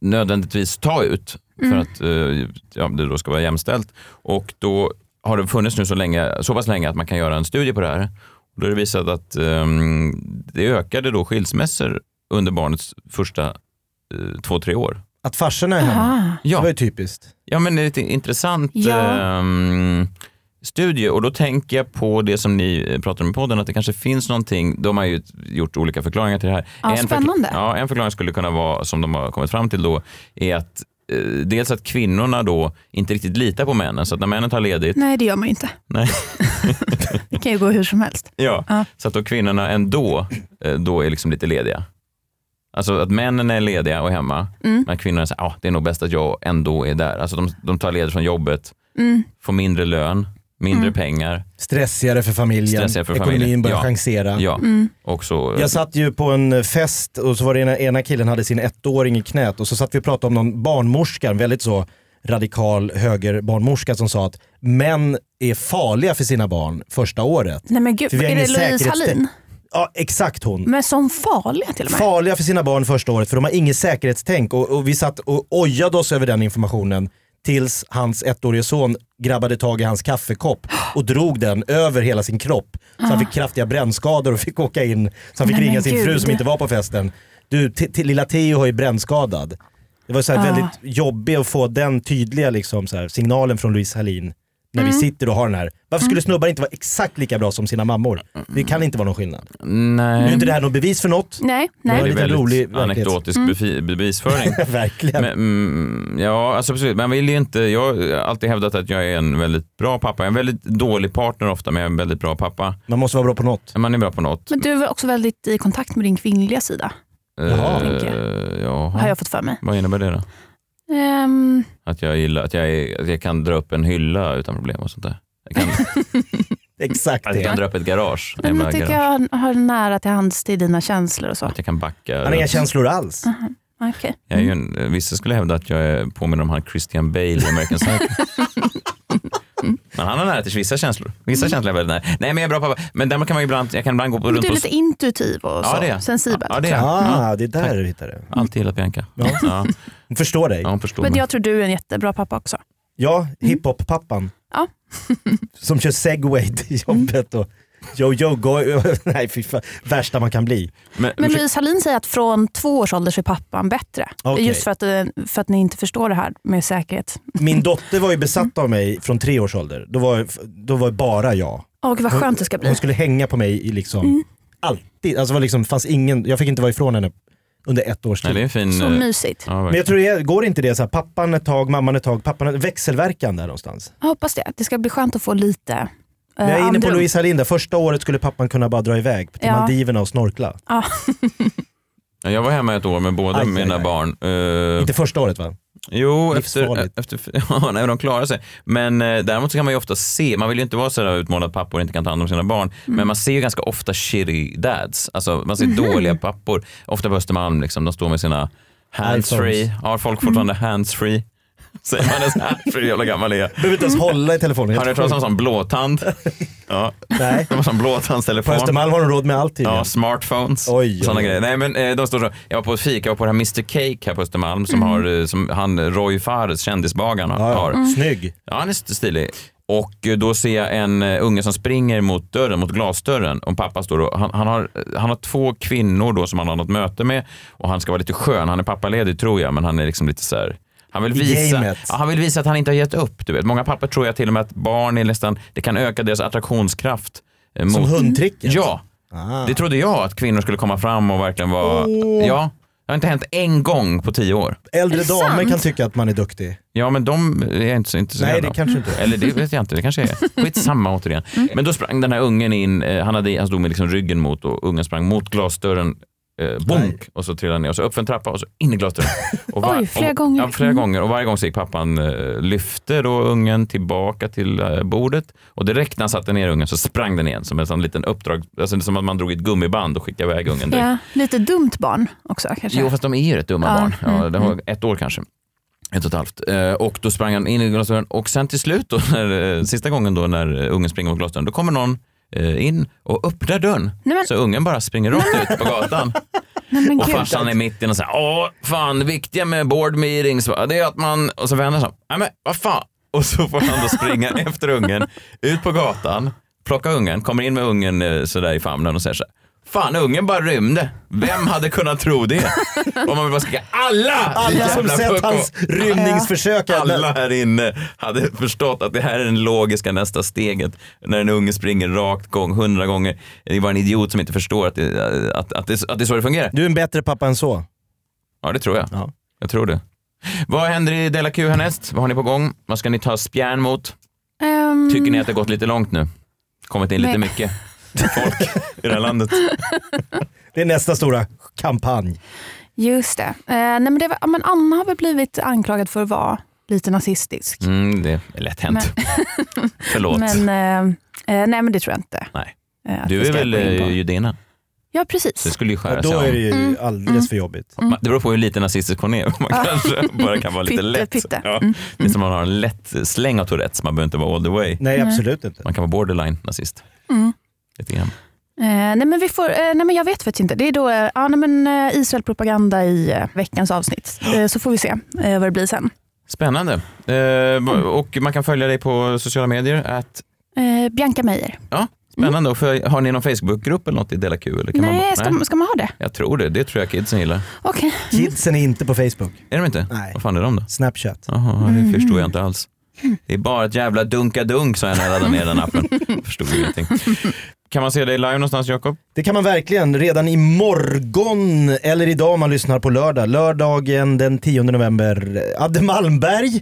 nödvändigtvis ta ut för
Mm.
att eh, ja, det då ska vara jämställt. Och då har det funnits nu så, länge, så pass länge att man kan göra en studie på det här. Och då är det visat att ehm, det ökade då skilsmässor under barnets första eh, två, tre år.
Att farsorna är hemma,
Ja.
det var ju typiskt.
Ja, men det är ett intressant
Ja.
ehm, studie och då tänker jag på det som ni eh, pratar om i podden, att det kanske finns någonting, de har ju gjort olika förklaringar till det här.
Ja,
förkla-
spännande.
ja, en förklaring skulle kunna vara, som de har kommit fram till då, är att eh, dels att kvinnorna då inte riktigt litar på männen, så att när männen tar
*laughs*
ledigt,
Nej, det gör man ju inte.
nej.
Det kan ju gå hur som helst.
ja,
Ja.
så att då kvinnorna ändå eh, då är liksom lite lediga. Alltså att männen är lediga och hemma,
Mm.
men kvinnorna säger ah, det är nog bäst att jag ändå är där. Alltså de, de tar ledigt från jobbet,
Mm.
får mindre lön, mindre
Mm.
pengar,
Stressigare för familjen,
Stressigare för
ekonomin
familjen.
börjar
Ja.
chansera.
ja,
Mm.
och så eh,
Jag satt ju på en fest och så var det ena, ena killen hade sin ettåring i knät och så satt vi och pratade om någon barnmorska, en väldigt så radikal högerbarnmorska som sa att män är farliga för sina barn första året.
Nej men gud,
För vi har
Mm. är det
ingen
Louise
säkerhetstänk.
Hallin?
Ja, exakt hon.
Men som farliga till och med.
Farliga för sina barn första året för de har inget säkerhetstänk och, och vi satt och ojade oss över den informationen tills hans ettårige son grabbade tag i hans kaffekopp och drog den över hela sin kropp. Så han
Ah.
fick kraftiga brännskador och fick åka in, så han fick
Nej,
ringa
men
sin fru
gud.
som inte var på festen. Du, t- t- lilla Theo är ju brännskadad. Det var så här
Ah.
väldigt jobbigt att få den tydliga liksom, så här, signalen från Louise Hallin när vi
Mm.
sitter och har den här. Varför skulle
Mm.
snubbar inte vara exakt lika bra som sina mammor? Det kan inte vara någon skillnad.
Nej.
Nu är inte det här något bevis för något.
Nej,
Det
nej.
är
lite
väldigt
rolig verklighet.
anekdotisk
Mm.
befi- bevisföring.
*laughs* Verkligen.
Men, mm, ja, alltså precis. Men vill ju inte, jag har alltid hävdat att jag är en väldigt bra pappa. Jag är en väldigt dålig partner ofta, men jag är en väldigt bra pappa.
Man måste vara bra på något.
Man är bra på något.
Men du är väl också väldigt i kontakt med din kvinnliga sida,
Jaha.
tänker
eh, jaha.
har jag fått för mig.
Vad innebär det då?
Ehm,
Att jag, gillar, att, jag är, att jag kan dra upp en hylla utan problem och sånt där. Jag
*laughs*
kan,
Exakt
att jag kan dra upp ett garage.
nej, men
Jävla
jag tycker
garage.
jag har nära till hands till dina känslor och så.
Att jag kan backa.
Han har inga
runt.
känslor alls.
Ah, Okej.
Jag är ju en, vissa skulle hävda att jag är- påminner om han Christian Bale i American
*laughs*
Psycho. Men han har nära till vissa känslor. Vissa känslor är väldigt nära. Nej men jag är bra pappa. Men däremot kan man ju ibland, jag kan ibland gå på,
Men
runt
Du är
på...
lite intuitiv och
Ja,
så,
det är jag.
sensibel.
Ja, det är jag.
Ah, det är där du hittar det.
Alltid gillat Bianca.
Ja.
Ja.
Hon förstår dig.
Ja, hon förstår
Men
mig.
jag tror du är en jättebra pappa också.
Ja, hiphop-pappan.
Mm. Ja.
*laughs*
Mm.
som kör segway till jobbet och yo yo go. *laughs* Nej fy fan, värsta man kan bli.
Men Louise Hallin säger att från två års ålder så är pappan bättre.
Okej.
Just för att, eh, för att ni inte förstår det här med säkerhet.
Min dotter var ju besatt av mig från tre års ålder. Då var, då var bara jag.
Och vad
Hon-
skönt det ska bli.
Hon skulle hänga på mig i liksom,
Mm.
alltid. Alltså var liksom, fanns ingen, jag fick inte vara ifrån henne under ett års tid.
Nej, det är en fin...
Så
eh,
mysigt.
Ja,
Men
verkligen.
jag tror det är- går inte det så här, pappan ett tag, mamman ett tag, pappan, växelverkan där någonstans.
Jag hoppas det. Det ska bli skönt att få lite eh,
Men jag är inne på
andrum.
Louise Hallin där, första året skulle pappan kunna bara dra iväg till
Ja.
Maldiverna och snorkla.
Ja.
Ja, Jag var hemma ett år med båda
Aj, aj,
mina
aj.
barn. Eh,
Inte första året va?
Jo, efter,
Livsfarligt.
efter, *laughs* ja, nej, de klarar sig. Men eh, däremot så kan man ju ofta se, man vill ju inte vara sådär utmålad pappor och inte kan ta hand om sina barn, men man ser ju ganska ofta shitty dads. Alltså man ser
Mhm.
dåliga pappor, ofta på Östermalm, liksom, de står med sina handsfree.
iPhones.
Har folk fortfarande handsfree? *laughs* Säger man ens handsfree? Jävla gammal är jag.
Behöver inte ens
Mm.
hålla i telefonen.
Har ni hört talas om sån blåtand? Ja,
Nej.
de har sån
På
blåtandstelefon.
Östermalm har de råd med allt tydligen.
Ja, smartphones.
Oj,
sådana
oj, oj.
grejer. Nej, men, eh, de står så, jag var på ett fik, jag var på det här Mr Cake här på Östermalm som, har, eh, som han Roy Fares, kändisbagaren, har.
Ja, ja.
har.
Mm.
Snygg.
Ja, han är st- stilig. Och eh, då ser jag en eh, unge som springer mot dörren, mot glasdörren. Och pappa står och, han, han, har, eh, han har två kvinnor då som han har något möte med och han ska vara lite skön. Han är pappaledig tror jag, men han är liksom lite så här... Han vill,
I
visa,
gamet.
ja, han vill visa att han inte har gett upp. Du vet. Många pappor tror jag till och med att barn är nästan, det kan öka deras attraktionskraft. eh,
Som
mot-
hundtricket.
Ja,
Ah.
det trodde jag att kvinnor skulle komma fram och verkligen vara...
Åh.
Ja, det har inte hänt en gång på tio år.
Äldre
Är det
damer
sant?
kan tycka att man är duktig.
Ja, men de är jag inte så intresserad
Nej det
av.
kanske inte är.
Eller det vet jag inte, det kanske är. Skitsamma återigen.
Mm.
Men då sprang den här ungen in, eh, han, hade, han stod med liksom ryggen mot och ungen sprang mot glasdörren, eh, bonk, och så trillade han ner och så upp för en trappa och så in i
*laughs*
glasdörren. Och
Oj, flera
och,
gånger.
Ja, flera
Mm.
gånger. Och varje gång så gick pappan, eh, lyfte då ungen tillbaka till eh, bordet och direkt när han satte ner ungen så sprang den igen som en sån liten uppdrag, alltså som att man drog i ett gummiband och skickade iväg ungen direkt.
Ja, lite dumt barn också kanske.
Jo, fast de är ju rätt dumma
Ja,
barn. Ja,
mm,
de har ett år kanske. Ett och ett halvt. Eh, och då sprang han in i glasdörren och sen till slut, då, *laughs* när, eh, sista gången då när eh, ungen springer mot glasdörren, då kommer någon eh, in och öppnar dörren.
Nej, men-
Så ungen bara springer rakt ut på
*laughs*
gatan.
Nej, men
Och
gud.
farsan
alltså.
är mitt i och säger, åh fan det viktiga med board meetings va, det är att man, och så vänder han sig om. nej men vad fan. Och så får han då
*laughs*
springa efter ungen, ut på gatan, plocka ungen, kommer in med ungen eh, sådär i famnen och säger så här, fan ungen bara rymde, vem hade kunnat tro det? Och man vill bara skrika, alla!
Alla som
jävla
sett
pucko!"
hans rymningsförsök.
alla här inne hade förstått att det här är den logiska nästa steget. När en unge springer rakt gång, hundra gånger. Det är bara en idiot som inte förstår att det, att, att det, att det är så det fungerar.
Du är en bättre pappa än så.
Ja, det tror jag.
Ja.
Jag tror det. Vad händer i Della Q härnäst? Vad har ni på gång? Vad ska ni ta spjärn mot?
Ehm,
Tycker ni att det har gått lite långt nu? Kommit in lite
Nej. *laughs*
mycket folk i det här landet?
Det är nästa stora kampanj.
Just det. Eh, nej, men det var, ja, men Anna har väl blivit anklagad för att vara lite nazistisk.
Mm, det är lätt hänt. Förlåt.
Men, eh, eh, nej, men det tror jag inte.
Nej.
eh, att
du
vi
är
ska
väl
gå in på.
eh, judinna?
Ja, precis.
Så det skulle ju skära
Ja, då
sig om.
är det ju Mm.
alldeles Mm. för
jobbigt.
Mm.
Det beror på hur lite nazistisk hon är. *laughs* Man
Ja.
kanske bara kan vara lite
Pytte,
lätt.
pytte.
Ja.
Mm,
Det är som om man har en lätt släng av Tourettes. Man behöver inte vara all the way.
Nej, absolut
inte.
Man kan vara borderline nazist.
Mm.
Lite grann.
Eh, nej, men vi får, eh, nej, men jag vet faktiskt inte. Det är då eh, ja, nej, men, eh, Israelpropaganda i eh, veckans avsnitt. Eh, så får vi se eh, vad det blir sen.
Spännande.
Mm.
Eh, och man kan följa dig på sociala medier. Att,
Eh, Bianca Meijer.
ja, spännande. Och För, har ni någon Facebookgrupp eller något i Dela Q? Eller kan man,
Nej, ska, ska man ha det?
Jag tror det. Det tror jag kidsen gillar.
Okej.
Kidsen är inte på Facebook.
Är de inte? Nej. Vad fan är de då?
Snapchat.
Jaha,
Mm.
det förstår jag inte alls. Det är bara ett jävla dunka-dunk, sa jag när jag laddade ner den
*laughs*
appen. Jag förstod ingenting. Kan man se dig live någonstans, Jakob?
Det kan man verkligen. Redan imorgon, eller idag om man lyssnar på lördag. Lördagen den 10 november. Adde Malmberg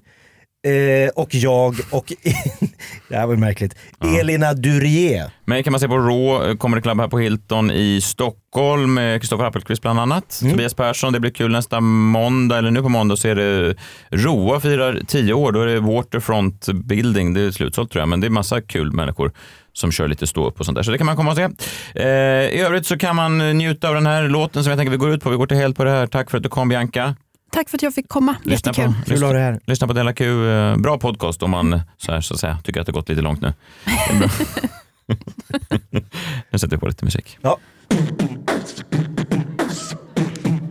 eh, och jag och... *laughs* det här var ju märkligt. Elina Durier.
Mig kan man se på Rå, eh, Comedy Club här på Hilton i Stockholm. eh, Kristoffer Appelqvist bland annat. Tobias Persson, det blir kul nästa måndag, eller nu på måndag så är det Roa firar 10 år. Då är det Waterfront Building. Det är slutsålt tror jag, men det är massa kul människor som kör lite ståupp och sånt där. Så det kan man komma och se. Eh, I övrigt så kan man eh, njuta av den här låten som jag tänker vi går ut på. Vi går till helt på det här. Tack för att du kom Bianca.
Tack för att jag fick komma.
Lyssna på,
Jättekul.
lyssna, lyssna på Della Q. eh, Bra podcast om man så här, så att säga, tycker att det har gått lite långt nu. Det är bra. nu sätter vi på lite musik.
Ja.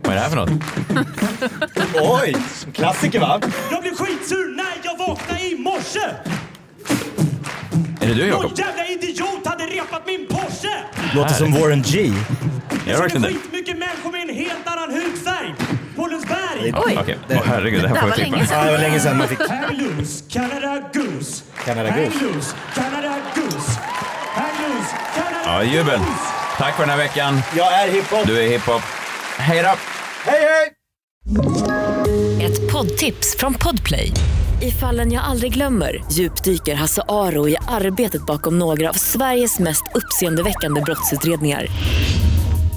Vad är det här för något?
Oj, klassiker va?
Jag blev skitsur när jag vaknade i morse!
Är det du Jakob?
Någon jävla idiot hade repat min Porsche!
Låter som Warren G.
Gör verkligen det?
Skitmycket människor med en helt annan hudfärg! På Lundsberg!
Oj. Okej, åh, herregud, det här Det får jag var klippa. länge sedan. Ja, det var länge sedan man fick-
Hang loose, Canada Goose.
Canada Goose.
Hang loose, Canada Goose. Hang loose, Canada
Ja, jubel. Tack för den här veckan.
Jag är hiphop.
Du är hiphop. Hej då!
Hej, hej!
Ett poddtips från Podplay. I fallen jag aldrig glömmer djupdyker Hasse Aro i arbetet bakom några av Sveriges mest uppseendeväckande brottsutredningar.